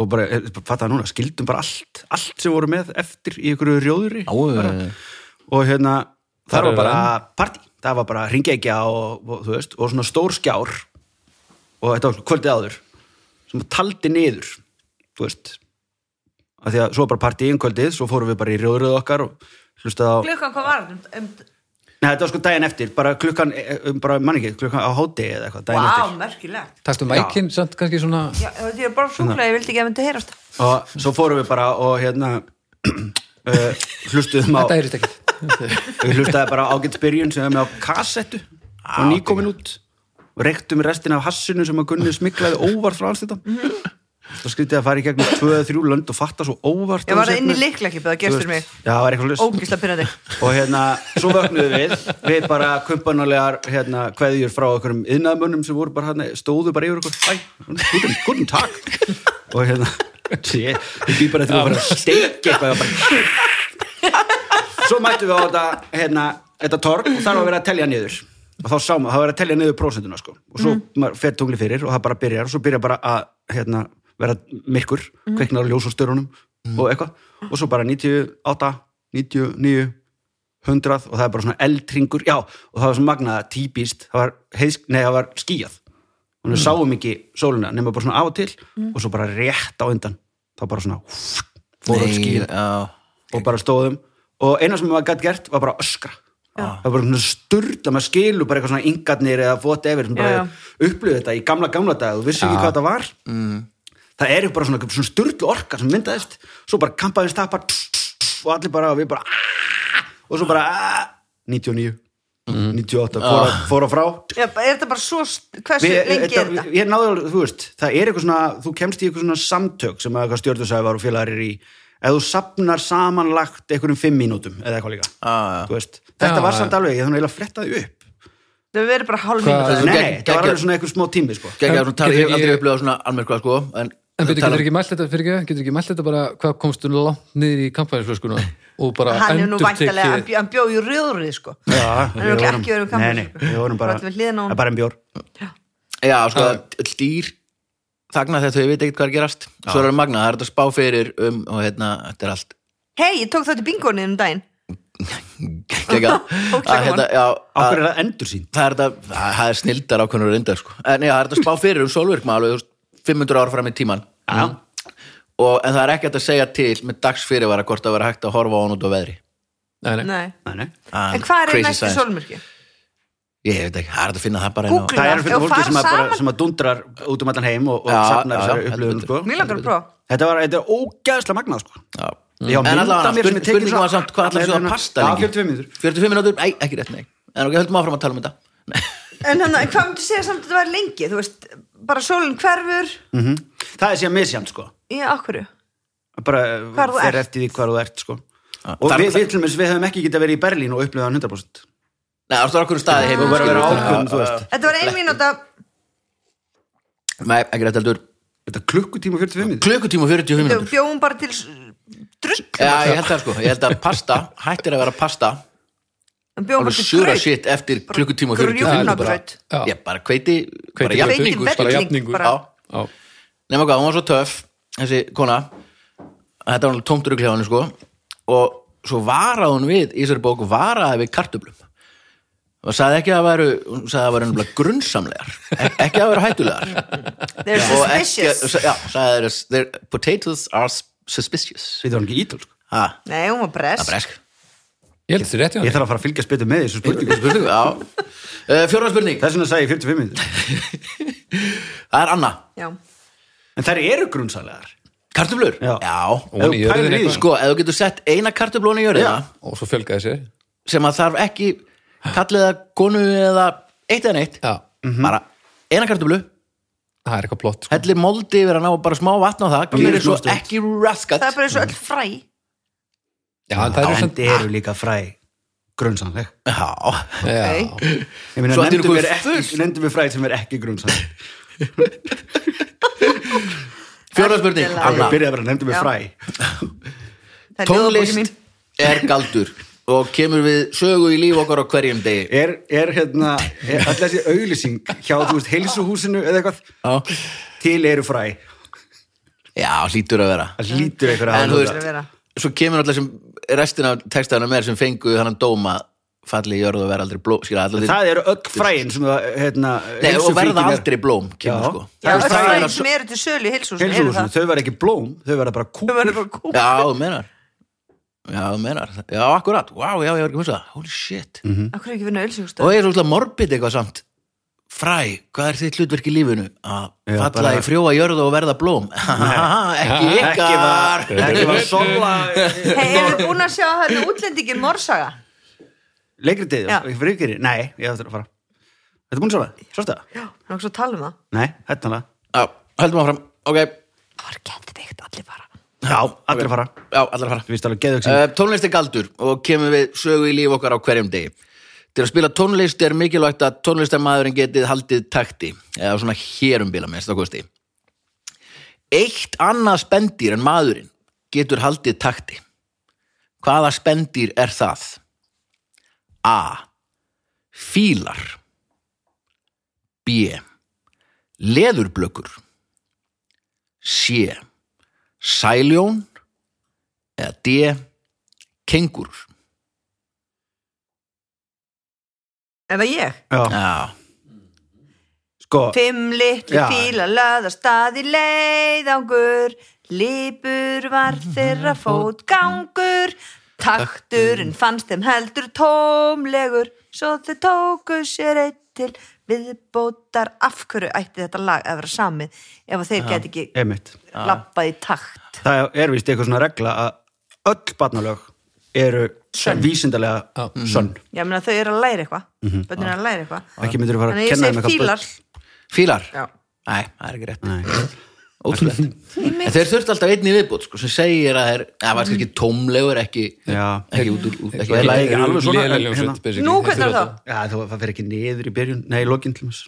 D: og bara, eh, bara fattaði núna, skildum bara allt, allt sem voru með eftir í einhverju rjóðuri
A: já, já.
D: og hérna,
B: Þar
D: þar var
B: er
D: bara partí, það var bara ringegja og, og þú veist, og svona stór skjár og þetta var kvöldið áður sem taldi niður þú veist að því að svo var bara partí um kvöldið, svo fórum við bara í rjóðrið okkar og hlustaði á
C: klukkan hvað var um, um,
D: Nei, þetta var sko daginn eftir, bara klukkan, um, bara mann ekki, klukkan á hátegi eða eitthvað, daginn
C: wow, merkilegt
B: Takkstu mækinn samt kannski svona
C: já, þetta er bara súklaði, ég vildi ekki að myndi heyrast
D: eftir. Og svo fórum við bara og hérna, uh, hlustuðum á,
B: Þetta heyrist ekkert
D: við hlustaði bara á ágætt byrjun sem við með á kassettu og nýkomin út og reyktum restin af hassinu sem að Gunni smiklaði óvart frá alls þetta.
C: Mhm.
D: Svo skrítið að fara í gegnum tvöða þrjú lönd og fatta svo óvart.
C: ég var
D: að þú sért
C: inn í
D: með-
C: leiklakipið að
D: hérna- Þú
C: gefstur mig
D: veist, Já, það var eitthvað list.
C: ógislega pyrrandi
D: og hérna, svo vöknuðum við við bara kumpanulegar hérna, kveðjur frá okkurum yðnaðmönnum sem voru bara hérna, stóðu bara yfir okkur Æ, guten, guten takk og hérna, sé, við býðum bara þetta að fara að steikja eitthvað og bara... svo mættum við á þetta hérna, þetta torg og þar var verið að telja niður og þá sá maður, það var verið að telja niður prósentuna sko. og svo maður fer tungli fyrir og það bara byrjar og svo byrjar bara að hérna, vera myrkur, kveiknar ljós á störunum og eitthvað og svo bara 98, 99 hundrað og það er bara svona eldringur já, og það var svona magnað típist það var, heiðsk, nei, það var skíjað og við sáum ekki sóluna nema bara svona á og til og svo bara rétt á undan þá bara svona fórum
A: Nei,
D: skíjað
A: já.
D: og bara stóðum og eina sem maður gætt gert var bara að öskra það var bara svona sturla, maður skilur bara eitthvað svona yngarnir eða fót efir sem
C: Já,
D: bara
C: já.
D: upplöðu þetta í gamla gamla dag þú vissi ekki hvað það var mm. það er bara svona, svona sturlu orka sem myndaðist svo bara kampaðist það bara og allir bara, við bara "Ah!" og svo bara "Ah!" 99 98, fór, að, fór að frá
C: Já, er þetta bara svo, st- hversu
D: Við, eh,
C: lengi
D: þetta,
C: er þetta?
D: ég náði alveg, þú veist, það er eitthvað svona þú kemst í eitthvað svona samtök sem að eitthvað stjórnusæfar og félagar er í ef þú sapnar samanlagt einhverjum fimm mínútum eða eitthvað líka,
A: Ah, já.
D: þú veist þetta
B: Já,
D: var
B: já.
D: samt alveg, ég þannig eiginlega að fletta því upp
C: Þau verður bara hálf
B: Hvað-
C: mínúta
D: nei, nei, þetta
A: gegn-
D: var
A: geggjað.
D: alveg svona eitthvað smá tími sko.
A: Gekkja, svona, tala, ég hef
B: Getur
A: aldrei
B: ég-
A: upplifað svona almerkvað sko En,
B: En betur,
A: tala-
D: um-
B: getur ekki mælt þetta fyrir ekki, getur ekki mælt þetta bara hvað komst þú langt niður í kampanjarsflöskuna og bara
C: Hann er nú
B: endurtekið-
C: væntalega, hann bjó- hann bjóð í rjóðrið sko
D: Já,
C: Hann er
D: við
C: örugglega
D: vorum-
C: ekki verið
D: nei,
C: um
D: nei,
C: kampavínsflösku.
D: við vorum bara,
C: Þú ert við hliðina á
D: það
C: honum.
D: er bara en bjór
A: Já, sko, öll dýr þagna þegar þau veit ekkert hvað er að gerast Svo er það magna, það er þetta spá fyrir um og hérna, þetta er allt
C: Hei, ég tók þátt í bingónið um daginn
A: geggjað.
C: Ógeðslega
A: Að hérna, já, að-
D: okkur er það endur sín
A: það er þetta, að- það er snildar ákveðnur reyndar sko. en já, það er þetta spá fyrir um sólvirkma alveg þú veist, 500 ára fram í tíman mm. og en það er ekkert að segja til með dags fyrirvara hvort það verður hægt að horfa á hann út á veðri
B: Nei, nei.
C: Nei.
D: nei, nei.
A: Ah,
C: En hvað er
A: crazy
C: næstu
A: science.
C: sólmyrki?
A: ég veit ekki, það er þetta að finna það bara
C: Google.
A: inn á-
D: það er fyrir
C: Og
D: fólki
C: fara
D: sem, að bara,
C: saman.
D: sem að dundrar út um allan heim og, og
A: Já,
D: safnar
A: já,
D: þessari
A: já,
D: upplifun
A: heldur
D: sko.
C: Mér langar að prófa
D: þetta var, þetta er ógæðslega magnað sko.
A: Já.
D: Ég á
A: en
D: mynd
A: allavega,
D: af mér sem
A: spurning-
D: ég tekið
A: spurningum
D: svo-
A: var samt hvað allar séu að
D: Hérna,
A: pasta
D: já,
A: lengi?
D: 45 mínútur.
A: 45 mínútur, nei, ekki rétt, nei en ok, höldum áfram að tala um þetta
C: En hann, hvað myndi segja samt að þetta var lengi? Þú veist, bara sólinn hverfur
D: Mhm. það er síðan misjant sko.
C: í akkurju
D: bara eh,
C: Hvar þú
D: fer
C: ert.
D: eftir því hvar þú ert sko.
A: Já.
D: og
A: Þar-
D: við, við, til dæmis, við hefum ekki getað verið í Berlín og upplifað hann ah, 100%
A: nei, það er okkur staði heim
D: þú verður að vera ákveðum, þú veist
C: Þetta var ein mínúta
A: nei, ekki rétt heldur
D: þetta er klukkutíma og 45 mínútur
A: klukkutíma og 45
C: Þau
A: mínútur
C: bjóðum bara til drull
A: já, ég held það sko, ég held að pasta hættir að vera pasta
C: Þau bjóðum
A: alveg
C: bara til
A: sjúra
C: graut
A: shit eftir klukkutíma og 40
C: grjóna
A: mínútur bara,
C: graut.
B: Já.
A: ég bara kveiti bara
B: Hveiti
A: jafn-
C: grautur.
B: jafningur,
C: Hveiti
B: bara
C: velling,
B: jafningur
C: bara.
B: Já,
A: Já. nema hvað, hún var svo töff þessi kona að þetta var alveg tómt rugl hjá henni sko og svo varaði hún við í þessari bóku varaði við kartöflum og sagði ekki að það væru hún sagði að það væru nefnilega grunnsamlegar ek- ekki að það væru hættulegar
C: They're
A: og ekki,
C: suspicious
A: sa- já, sagði þeir their potatoes are s- suspicious
D: þetta var ekki ítal sko.
A: ha,
C: Nei, hún var
A: það er
C: brest
A: bresk
B: Ég held þessi rétt hjá
D: ég
B: hann
D: þarf að fara að fylgjast betur með þessu spurningu sko.
A: spurning, já uh, fjórða spurning,
D: þess vegna sagði ég 45 mínútur
A: það er Anna
C: Já,
D: en þær eru grunnsælegar
A: kartöflur,
D: Já.
A: já.
B: Ofan í jörðinni
D: pælir í því, sko.
B: eitthvað.
A: sko, ef þú getur sett eina kartöflun í jörðina
B: Og svo fjölgaði sér
A: sem að þarf ekki kallið það konu eða eitt eða neitt Mhm.
B: Já,
A: bara eina kartöflu,
B: það er eitthvað plott sko.
A: hellir moldi yfir hana og bara smá vatn á það, gerir svo
D: smástund.
A: ekki raskat
C: það er bara eins og öll fræ
B: Já, en það
D: Já,
B: eru
D: en
B: samt
D: það eru líka fræ grunnsannleg
A: Já,
B: Já,
D: ég meina,
A: Svo allt í einu
D: nefndum við,
A: komið
D: ekki, nefndum við fræ sem er ekki grunnsannleg
A: fjóra spurning,
C: Algjörlega.
D: ég
A: Anna
D: byrjaði bara, nefndum við
C: Já.
D: fræ
C: Það er ljóðabókin mín.
A: Tónlist er galdur og kemur við sögu í líf okkar á hverjum degi
D: er, er hérna er alltaf þessi auglýsing hjá, þú veist, heilsuhúsinu eða eitthvað,
A: Já,
D: til eru fræ
A: já hlýtur að vera
D: það lítur einhverja
A: En þú
D: aðlöga.
C: að vera.
A: veist, svo kemur alltaf sem restina af textaðana með sem fengu þannig dóma falli í jörð og vera aldrei blóm skilja, allir,
D: það eru öll fræin sem það, hérna,
A: nei, og verða
D: heilsufríkin er-
A: aldrei blóm kemur,
D: Já.
A: sko.
C: Já,
D: Það
C: öll
D: er fræ-
C: fræ sem eru til sölu í heilsúsin eru
D: heilsuhúsinu,
C: það
D: þau verða ekki blóm þau verða bara
C: Þau
D: kúpur
C: verður bara kú
A: Já, þú meinar Já, þú meinar, já, akkurat Vá, já, ég var ekki að missa það, holy shit
D: Mhm.
C: Akkur ekki vinna ölsingustöð
A: Og ég er svolítið morbid eitthvað samt Fræ, hvað er þitt hlutverk í lífinu? Að
D: Já, bara-
A: falla í frjóa jörð og verða blóm Ekki ykkar
D: ekki var, ekki var sola
C: Hei, erum við búin að sjá að það er útlendingin morsaga?
D: leikritið,
C: Já.
D: fyrir ykkur nei, ég ætla að fara Þetta er búin svona, svolítið það?
C: Já, hann var svo að tala um það.
D: Nei, þetta er hana
A: Já, höldum áfram, ok Já,
C: Það var geðveikt allir bara.
D: Já, allir að fara
A: allar fara
D: Þú veist alveg geðvöksin
A: Uh, tónlist er galdur og kemur við sögu í líf okkar á hverjum degi. Til að spila tónlist er mikilvægt að tónlistamæðurinn getið haldið takti, eða svona hérumbila minnst að kosti. Eitt annað spendir en maðurinn getur haldið takti. Hvaða spendir er það? A. Fílar B. Leðurblökur C. Sæljón eða D kengur
C: Er það ég?
D: Já,
A: Eh, já,
D: sko,
C: Fimm litli
D: Já.
C: fílar laða staði leiðangur Lipur var þeirra fótgangur Takturinn fannst þeim heldur tómlegur Svo þau tóku sér eitt til viðbótar Af hverju ætti þetta lag að vera samið Ef að þeir gæti ekki
D: einmitt
C: lappað í takt
D: Það er vist eitthvað svona regla að öll barnalög eru
C: Sönn.
D: vísindalega
B: Já.
D: sönn
C: Já, meina þau eru að læra eitthvað mm
A: Mhm.
C: Bönnir eru að læra eitthvað
D: ekki myndir að fara
C: Þannig
D: að
C: ég
D: kenna þeim eitthvað
C: segi fílar
A: Fílar?
C: Já.
A: Nei, það er ekki rétt
D: bull. Nei.
A: Ótrúlegt En þeir þurft alltaf einni viðbútt sko, sem segir að þeir, að það var kannski tómlegur ekki,
D: Já.
A: ekki út úr út- ekki,
D: Þeir-
A: ekki,
D: ekki alveg svona, en hérna-
C: Nú, hvernig er þá?
D: Já, það það fer ekki niður í byrjun nei, í lokin til mér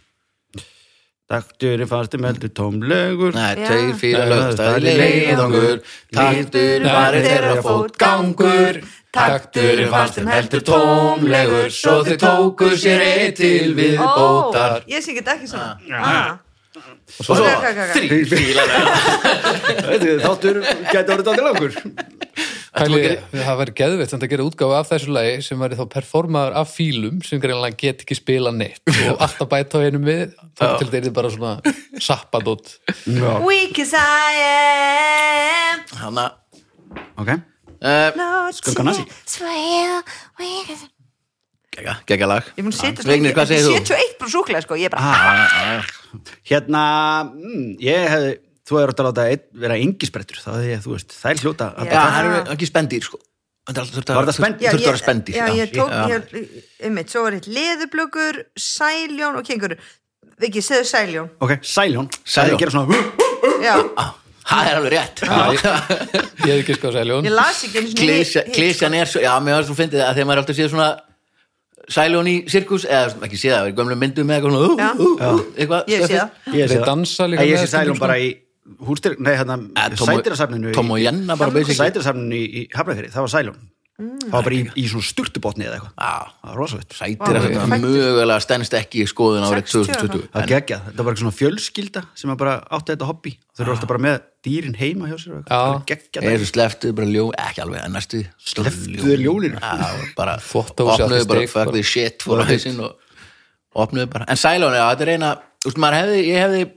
D: Dakturinn fannst um eldur tómlegur
A: Nei,
C: Já.
A: tveir fíla
D: Já,
A: lög,
D: það er
A: staði leiðangur Taktur var þeirra fót gangur Takturinn fannst þeim heldur tómlegur Svo þau tóku sér eitt til við
C: Ó,
A: bótar
C: ég syngi þetta ekki svona ah.
A: Og svo
C: Ok, ok, ok.
A: þrý fíla lög
D: Veitu, þáttur gæti orðið dálítið langur
B: Pæli, það væri geðveitt samt að gera útgáfu af þessu lagi sem væri þá performaður af fílum sem greinlega get ekki spila neitt og alltaf bæta á einum við þá til þeirri bara svona sappandótt
D: Já.
C: Weak as I am
A: Hanna
D: ok,
A: eh,
C: No
D: Skugga Nazi.
C: chance for you Weak as I am
A: Gekka lag
C: Ég mun setja
A: Vignir, Ah. hvað segir þú?
C: 71 brú súkulega sko Ég er bara
D: hérna mm, ég hefði, þú er að láta einn, vera engisbrettur, það er, þú veist, þær hljóta að
A: Já,
C: Já.
A: það eru ekki spendir sko Þetta er alltaf þurft að-
D: Var það spendýr?
C: Já,
A: Þurft að
C: ég-
A: vera spendir
C: Já, ég tók,
A: Já.
C: ég, einmitt, svo var eitt leðublökur, sæljón og kengur Viki, segðu sæljón
D: ok, sæljón,
A: Sæljón.
D: sæljón. gera svona
C: Já,
A: Ah, Það er alveg rétt
B: ég hef ekki skoð sæljón
C: ég las ekki einu sinni
A: Klesja-
C: hitt-
A: Klesjan er svo, já, mér varst þú fyndið að þegar maður er alltaf séð svona Sælón í sirkus, eða svona, ekki séð það, er í gömlum myndum eða eitthvað svona,
C: Já.
A: uh, uh, uh, eitthvað
C: Ég sé
A: stöfið.
C: það
D: ég
B: Þeir dansa líka
D: Nei, ég
B: með
D: sé
B: stundum,
D: sælum bara í hústir, nei hérna
A: Eh, Tom og-
D: sætirasafninu
A: Tom og Jenna bara basic.
D: sætirasafninu í, í Hafnafjörði, það var sælum það var bara í, í svona sturtubotni eða eitthvað
A: Já,
D: það var rosalegt,
A: sætir að
C: Vá,
A: þetta
C: fæddist.
A: mögulega stennst ekki í skoðun árið
C: 60
A: 2020
D: það var geggjað, þetta var bara svona fjölskylda sem að bara átti þetta hobby þau eru alltaf bara með dýrin heima hjá sér og
B: Ah. Já.
D: eitthvað. Það er geggjað
A: Eða sleftuð bara ljó, Eh, ekki alveg en næstu
D: Slepptu þér ljóninu?
A: Já, bara
B: Þvottahúsið
A: opnuðu
B: allt í
A: bara
B: steik,
A: fuck
B: bara.
A: the shit fór á hausinn og opnuðu bara En Sælón, já, þetta er eina Þú veist, maður hefði, ég hefði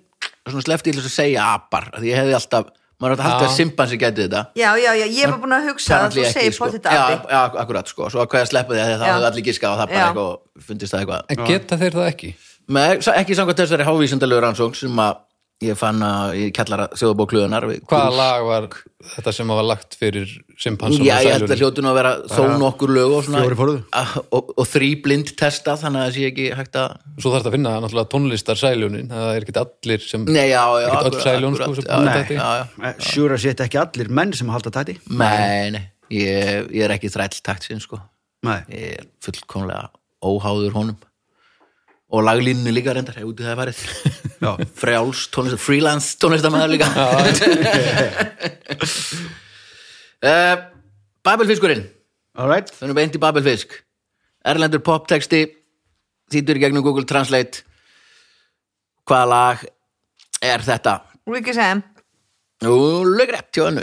A: svona sleftið til þess að segja apar af Því ég hefði alltaf, maður hefði alltaf
B: Já.
A: að simpansi gæti þetta
C: Já, já, já, ég var búin að hugsa að þú
A: Apparently
C: segir
A: sko.
C: bótt þetta
A: já,
C: api
A: já, akkurat sko, svo hvað ég að sleppa því að það
C: Já.
A: hafði allir giska og það bara
C: Já.
A: eitthvað og fundist það eitthvað
B: en geta þeir það ekki
A: Með, ekki samkvæmt þessari hávísindalegu rannsókn sem að ég fann að ég kallar þjóðbókluðunar
B: hvaða lag var þetta sem var lagt fyrir simpansan
A: Já, ég held að hljótun að vera þó nokkur lög og,
D: Fjórir
A: svona,
D: forðu.
A: Ah, og, og þrý blind testa þannig að það sé ekki hægt að
B: svo þarf þetta að finna náttúrulega tónlistar sæljónin það er ekki allir sem
A: Nei, já, já,
B: Ekkert öll
A: akkurat,
B: Sæljón, sko,
A: akkurat,
B: sem
A: já,
B: búið
A: nei,
B: þetta í.
A: já, já.
D: Eh, sure as shit ekki allir menn sem halda tæti
A: Nei, nei, ég, ég er ekki þræll taktsinn sko,
D: nei,
A: ég er fullkomlega óháður honum og laglínni líka reyndar, hefur út í það værið
D: já,
A: frjáls tónlist, freelance tónlistamæður líka uh, Babelfiskurinn
D: alright
A: þannig beint í Babelfisk Erlendur poptexti þýtur í gegnum Google Translate hvaða lag er þetta?
C: Weak as I am
A: Ú, lögrætt hjá önnu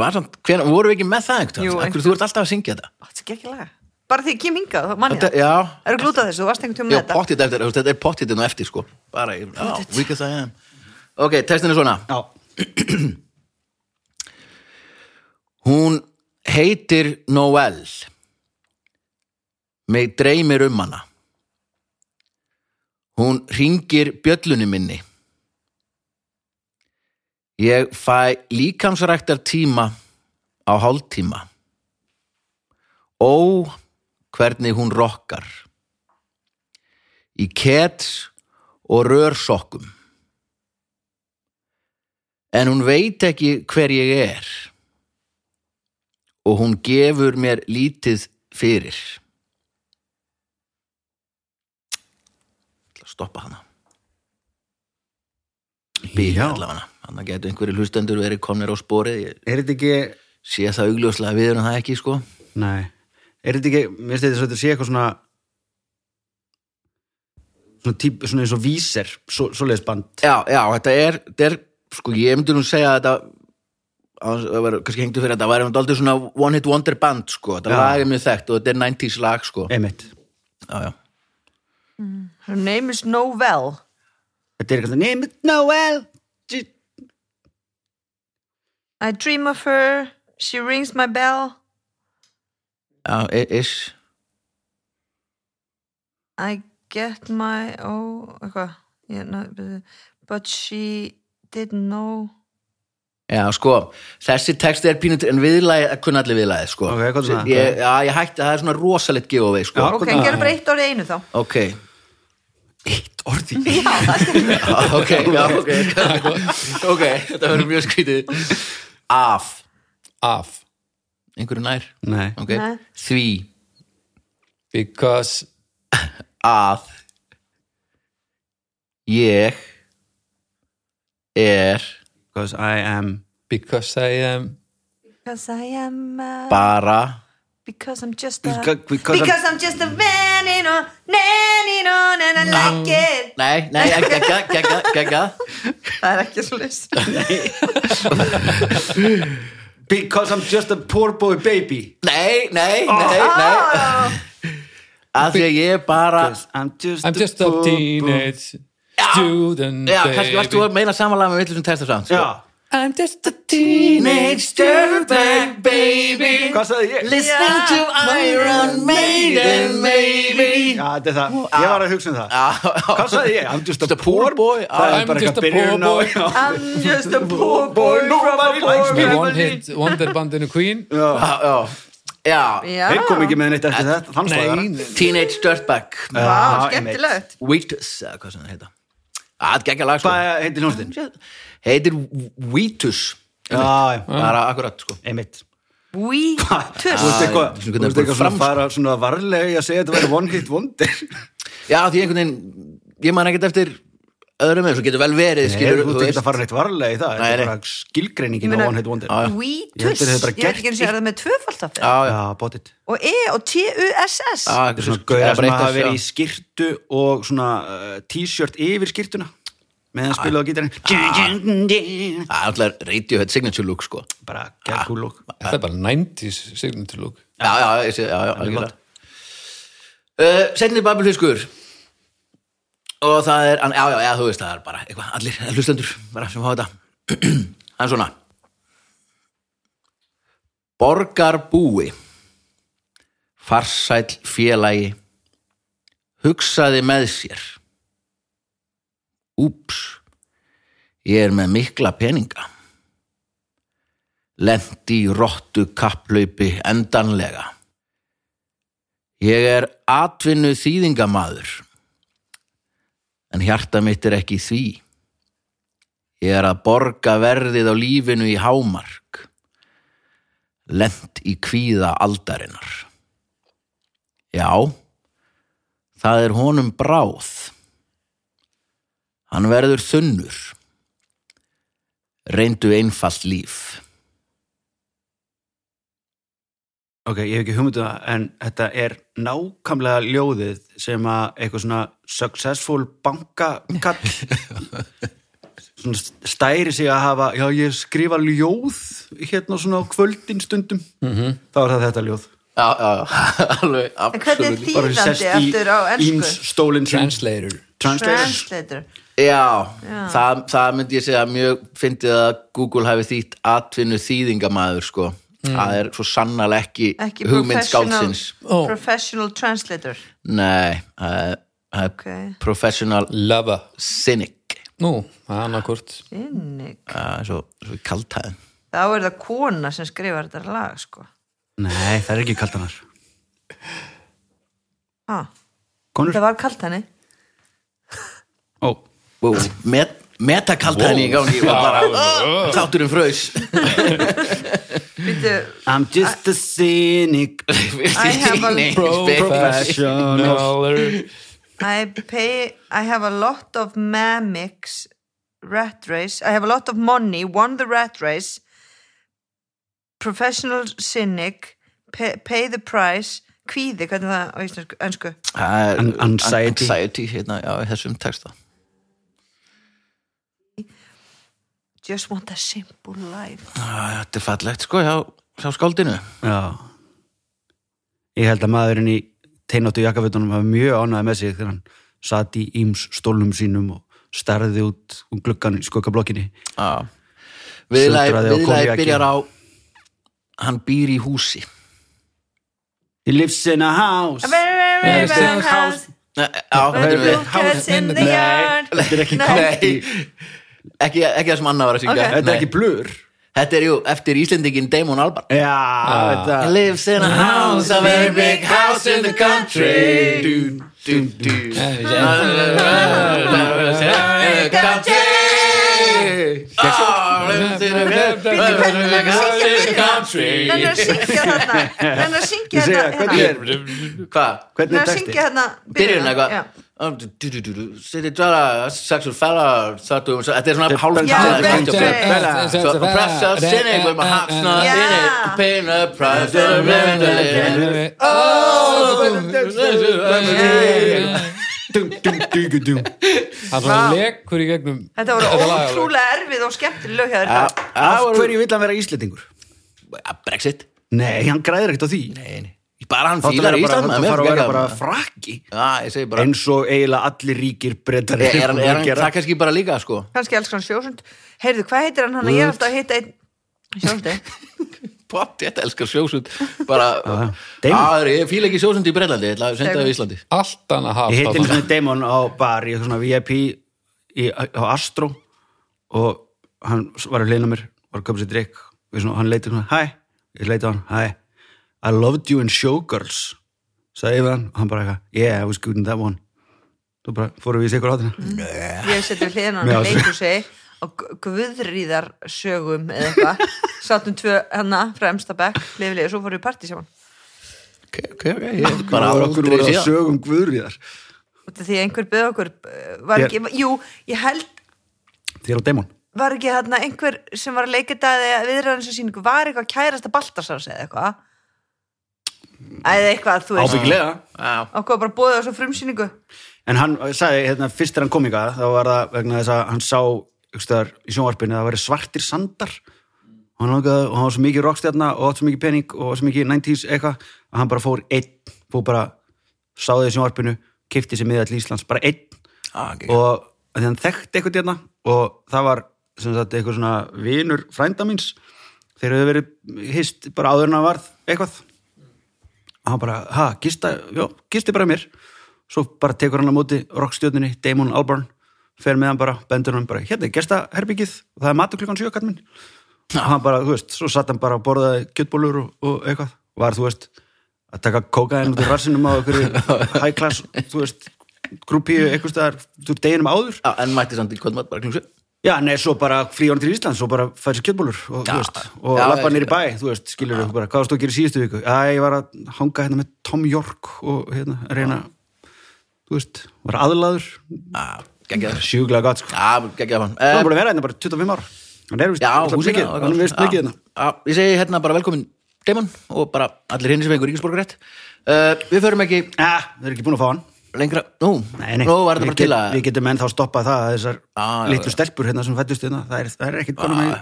A: var samt, hvenær, voru við ekki með það
C: Jú,
A: einhvern
C: einhvern
A: veginn? Þú ert alltaf að syngja þetta
C: Ó, Þetta er ekki laga Bara því ég kem hingað, þá mann ég
A: Þetta,
C: það
A: já,
C: Það eru glútað þessu, þú varst einhvern tíma
A: já
C: með þetta
A: pottið eftir, þú veist, þetta er pottið nú eftir sko bara, ég- já, weak as I am ok, textin er svona
D: já,
A: Hún heitir Noel. Mig dreymir um hana. Hún ringir bjöllunni minni. Ég fæ líkamsræktar tíma á hálftíma. Ó, hvernig hún rokkar. Í kets og rörsokkum. En hún veit ekki hver ég er og hún gefur mér lítið fyrir Ég ætla að stoppa hana
D: Já.
A: bíla allavega hann getur einhverju hlustendur verið komnir á sporið ég
D: er þetta ekki
A: sé það augljóslega við erum það ekki sko
D: Nei, er þetta ekki, mér finnst þetta svo að þetta sé eitthvað svona svona, típ, svona eins og víser, svo, svoleiðis band
A: já, já, þetta er, þetta er sko ég myndi nú segja að þetta að það var kannski hengtu fyrir að þetta væri um daldið svona one hit wonder band sko þetta
D: Já.
A: lag er mjög þekkt og þetta er 90s lag sko
D: einmitt.
A: já, já.
C: Her name is Novel
D: Þetta er eitthvað, name it Noel J-
C: I dream of her She rings my bell
A: Já, i- ish
C: I get my oh eitthvað Ég- no, but- but she didn't know
A: Já, sko, þessi texti er pínut en viðlæði, kunna allir viðlæði, sko
D: Ok, hvað er það?
A: Ég, já, ég hætti, það er svona rosalegt giveaway, sko
D: Já.
C: ok,
D: hvernig-
C: gerum bara eitt orðið í einu þá
A: Ok,
D: Eitt orði
C: já, það er
A: ok, já, ok Ok, þetta verður mjög skrítið Af,
B: af
A: einhverju nær
D: Nei,
A: Ok,
C: Nei.
A: því,
B: because
A: að Ég Er
D: because I am
B: because I am
C: because I am a,
A: bara
C: because I'm just a
D: Because- because I'm-
C: because I'm just a man in a man in a and I like it
A: Nei, nei, gegga, gegga, gegga
C: það er ekki svo list
D: Because I'm just a poor boy baby
A: Nei, nei, nei, nei
D: Oh.
A: Af því að ég er bara
D: I'm just,
B: I'm just a
D: poor boy-
B: teenage student
A: Já, kannski varst þú
B: baby
A: að meina samanlega með vitlisum texta samt sko.
D: Já,
B: I'm just a teenage
A: Dirtbag baby
D: hvað sagði ég?
A: Listen
C: Já.
A: to Iron Maiden maybe Ah,
D: Já, þetta er það, ég var að hugsa um það Hvað sagði ég? I'm just a poor boy Það er
B: I'm
D: bara eitthvað
B: just a poor
D: byrjun á
B: boy.
D: Já.
C: I'm just a poor boy
D: Boy, nobody likes me
B: Með one hit wonderbandinu Queen
D: Já,
A: Já, já. Já,
C: já,
D: þeir kom ekki með neitt eftir þetta Þannig slagði það
B: Nei,
A: Teenage Dirtbag
C: Vá,
D: Já, einmitt.
C: Ah, skemmtilegt
A: Wheatus, eða hvað sem það heita Það geggja lag sko
D: Hvað heitir hljómsveitin?
A: Heitir Wheatus
D: Já, já,
A: Bara akkurat sko
D: einmitt
C: we
D: Þú veist eitthvað,
A: ég-
D: þú veist eitthvað
A: fram-
D: svona fara svona varlega í að segja að þetta væri one hit wonder
A: Já, því einhvern veginn Ég man ekkert eftir öðrum með Svo getur vel verið
D: Skilur,
A: skilur,
D: þú ert ekki að fara neitt varlega í það
A: Nei,
D: Þetta
A: nei.
D: er bara skilgreiningin á
C: Ég meina-
D: one hit wonder
A: Já, já.
C: we
D: Ég held þeir
C: tuss ég
D: hefðu bara
C: veit ekki
D: gert
C: eins og er það með tvöfald af
A: Já,
C: þeir
A: já
D: Já, bóttið
C: og e og t-u-s-s
A: Já,
D: Þetta
A: einhver
D: er svona
A: Ah, svona-
D: gauðar
A: eða bara
D: sem
A: eitthvað,
D: hafa verið í
A: já.
D: skirtu og svona uh, t-shirt yfir skirtuna meðan spilaðu á gítarinn
A: Það er alltaf Ah, Radiohead signature look sko
D: bara gerð kúl og
B: Þetta er bara 90s signature look
A: Já, já, ég sé, já, já, algjörlega
D: gott.
A: uh, Setni babelfiskur Og það er, an- já, já, já, þú veist það er bara eitthvað, allir hlustendur bara sem hafa þetta Það er svona Borgarbúi Farsæll félagi Hugsaði með sér Úps Ég er með mikla peninga lendi í rottu kapplaupi endanlega. Ég er atvinnu þýðingamaður, en hjarta mitt er ekki í því. Ég er að borga verðið á lífinu í hámark, lent í kvíða aldarinnar. Já, það er honum bráð. Hann verður þunnur. Reyndu einfalt líf.
D: ok, ég hef ekki hugmynduð það en þetta er nákvæmlega ljóðið sem að eitthvað svona successful bankakall svona stæri sig að hafa já, ég skrifa ljóð hérna svona á kvöldin stundum -hmm. þá er það þetta ljóð
A: já, já, já, alveg
C: en hvernig er
A: absolutt
C: þýðandi aftur á ennsku
D: stólinn sinn
B: Translator
D: Translator.
C: translator
A: já, það, það myndi ég segja mjög fyndið að Google hafi þýtt atvinnu þýðingamaður sko það er svo sannarlega ekki,
C: Mm. ekki
A: hugmynd
C: professional,
A: skáldsins
B: Ó.
C: professional translator
A: nei, það er- það er
C: Ok.
A: professional
B: Lava
A: cynic
B: Nú, annarkort
C: Inni.
A: uh, svo, svo kaltæðin
C: þá er það kona sem skrifar þetta lag sko.
D: nei, það er ekki kaltanar
C: ah,
D: konur,
C: það var kalt henni
D: ó,
A: wow. Met, metakaltæðin í gangi og bara þátturinn fröys
C: Býtu,
D: I'm just a cynic
C: I have a-
B: Professionaler
C: I, pay, I have a lot of mamics rat race I have a lot of money, won the rat race professional cynic pay, pay the price kvíði, hvernig er það á íslensku önsku
A: Það er-
D: An- anxiety.
A: anxiety hérna, já, í þessum texta
C: just want a simple life
A: Ah, Þetta er fallegt sko hjá, hjá skáldinu
D: Já. Ég held að maðurinn í teináttu jakkafutunum var mjög ánægði með sig þegar hann satt í íms stólnum sínum og starði út um gluggan í skuggablokkinni.
A: Já.
D: Sundraði
A: Viðlagi
D: og kom í
A: viðlagi
D: eggið.
A: byrjar á Hann býr í húsi
D: He lives in a house.
C: very very very
B: Yes, yes.
C: very house
A: Nei, Já,
C: very
A: byrjum
C: blue
A: við.
C: cats in the
D: Nei,
C: yard
D: þetta er ekki
C: Nei.
D: kallt í.
A: Nei, ekki, ekki það sem annað var að syngja
C: Ok.
D: Þetta er ekki blur.
A: Þetta er jú eftir Íslendingin Damon Albarn
D: Já, þetta
A: He lives in a house, a very big house in the country Eh,
D: Dú, dú, dú.
A: Country Ah, lives in a big house in the
C: Nenni að
A: country
C: syngja þarna Nenni að syngja
D: Ég segja,
C: hérna-
D: hvernig
C: hérna
D: er
A: Hvað?
D: Hvernig
C: Nenni
D: er
C: að
D: texti?
C: syngja hérna
A: byrjun
C: Já.
A: Um, eitthvað City Dwella, Sexual Fella um, Þetta er svona
D: Já,
A: hálf So oppressor sinning with my heart's not in it
C: Yeah.
A: Paying a price for the living
D: Dú, dú, dú, dú, dú.
B: Hann svona lekur í gegnum
C: Þetta voru
B: lag.
C: ótrúlega erfið og skemmtileg lög hjá þér
A: Ja,
C: Dagur.
A: það
D: Af
A: voru-
D: hverju vill hann vera Íslendingur?
A: Brexit
D: Nei, hann græðir ekkert á því
A: Nei, nei. bara hann
D: Þá ætlar
A: fílar í
D: hann bara-
A: Ísland
D: þá
A: maður, mér
D: þarf að
A: finnst
D: vera
A: geggjað.
D: bara frakki
A: Já, ég segi bara
D: eins og eiginlega allir ríkir breytar
A: Er- er hann- er hann það kannski bara líka sko
C: Kannski elskar hann sjósund Heyrðu, hvað heitir hann hann? Ég er alltaf að heita einn eh? Sjósundi
A: Pott, þetta elskar sjósund bara,
D: Damon.
A: Já, ég fíla ekki sjósund í Breitlandi ég ætla að senda það í Íslandi
B: Allt annað haft
D: Ég heiti einu
B: þarna.
D: svona Damon á bar í eitthvað svona VIP í, á Astro og hann var að leina mér var að köpa sér drikk Við svona, hann leiti svona, hæ, ég leiti á hann, hæ I loved you in Showgirls sagði ég við hann og hann bara eitthvað, yeah, I was good in that one þú bara fórum við í sikur átina
C: Ég seti við hliðin á
D: Já,
C: hann
D: svo-
C: leikusi og guðrýðar sögum eða eitthvað Sátum tvö hana fremsta bekk Leifilegi og svo fórum við í partí saman
A: ok, ok, ok, ég bara ára
D: okkur
A: okkur
D: voru að sögum guðriðar
C: Út af Því að einhver byggði okkur eh, var ekki, Jú, ég held
D: Þér á Damon
C: var ekki þarna einhver sem var að leika þetta eða viðræðan sem sýningu var eitthvað kærasta Baltasars eða eitthvað eða eitthvað þú veist
D: Ábyggilega
A: síðan
C: okkur var bara bóðið á svo frumsýningu
D: En hann sagði, hérna, fyrst er hann kominga þá var það vegna þess að hann sá ykstaðar, í sjónvarpinu að það væri svartir sandar og hann, langaði, og hann var svo mikið rockstjarna og átt svo mikið pening og svo mikið 90s eitthvað að hann bara fór einn, fór bara sá það í sjónvarpinu, kifti sér miða til Íslands, bara einn
A: Ah, ok.
D: og að því hann þekkti eitthvað hérna og það var sem sagt eitthvað svona vinur frænda míns þeir hefur verið hist bara áður en að varð eitthvað og hann bara, ha, gista, já, gisti bara mér svo bara tekur hann á móti rockstjörninni, Damon Albarn fer með hann bara, bendur hann bara, hérna, gesta herbyggið og það er matur klukkan sjö, kall minn og hann bara, þú veist, svo satt hann bara að borðaði kjötbólur og, og eitthvað, var, þú veist að taka kókaðin út í rassinum á einhverju high class, þú veist grúpíu, eitthvað staðar, þú veist, deginum áður
A: Já, en mætti samt í kvöldmatt bara klungsu
D: já, nei, svo bara flýja hann til Íslands og bara fær sér kjötbólur og,
A: Já.
D: þú veist, og
A: Já,
D: lappa
A: ég
D: nýr í bæ, þú veist, skilur þú bara, hvað varst þú að gera í síðustu viku? Já, ég var að hanga hérna með Tom York og hérna, reyna þú veist, var aðlaður
A: Gekkið það
D: sjúklega gott, sko,
A: Já, geggjaður hann
D: það
A: Eh,
D: var bara að vera hérna bara 25 ára, hann er vist
A: Já,
D: mikið,
A: húsina
D: hann er vist mikið hérna
A: Ég segi hérna bara velkomin Damon og bara allir hinn sem einhver ríkisborgarétt uh, Við förum ekki
D: Ah, þau eru ekki búin að fá hann
A: lengra Nú,
D: Nei, nei,
A: nú var þetta
D: við,
A: bara til að
D: við getum ennþá stoppað það að þessar
A: Já, Ah, já,
D: litlu stelpur hérna sem fættust hérna, það er, það er ekkit konum með,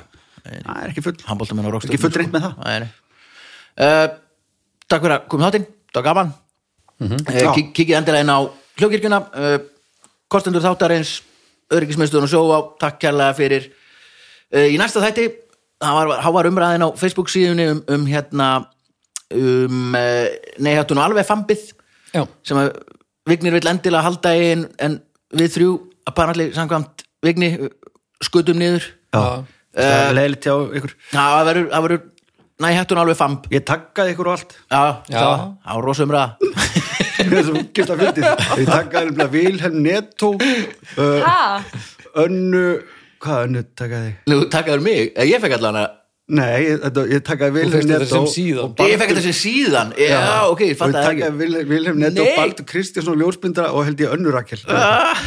D: það er ekki full
A: handbóltamenn og rokstur
D: Ekki fullreynt með það.
A: Nei, nei uh, Takk fyrir að komið þáttinn, takk gaman mm
D: Mhm. Já.
A: -hmm. Kikið endilega inn á hljókirkjuna uh, Kostendur þáttarins Öryggismiðstöðun og sjóvá Takk kærlega fyrir uh, Í næsta þætti, það var, það var umræðin á Facebook síðunni um, um hérna um uh, neyhjáttun og alveg fambið
B: Já,
A: sem að Vignir vill endilega halda í en, en við þrjú apparently samkvæmt Vigni uh, skutum niður
D: Já,
B: Já.
D: það
A: Eh.
D: er leiðilegt hjá ykkur
A: Já, það verður, það verður, næ, hættun alveg famb
D: Ég takkaði ykkur og allt
A: Já,
B: Já.
A: það var rosum ræða
D: þessum gifta fyndið Ég takkaði nefnilega Vilhelm Netto uh,
C: ha,
D: Önnu Hvað önnu takkaði?
A: Nú, takkaður mig, Eh, ég fekk allan að
D: Nei, ég, þetta, ég takkaði Vilhelm
B: fékkst þetta
D: Netto
B: sem síðan.
D: og Baldur-
A: Ég fekk þetta sem síðan, já, ok, ég
D: Og
A: fatt
D: ég
A: að ekki
D: takkaði Vil- Vilhelm Netto
A: Nei.
D: Baldur Kristjánsson og Ljósbyndara og held ég önnu Rakel
A: Ah.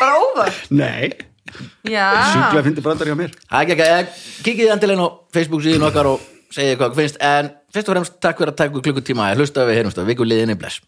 C: bara óvör
D: Nei,
B: Ah.
D: sjúklega
C: já,
D: fyndið brandar hjá mér
A: Það er ekki ekki, eh, kikið endilegin á Facebook síðan okkar og segið hvað okkur finnst En fyrst og fremst, takk fyrir að taka ykkur klukkutíma að hlusta við heyrumst að viku liðinni bless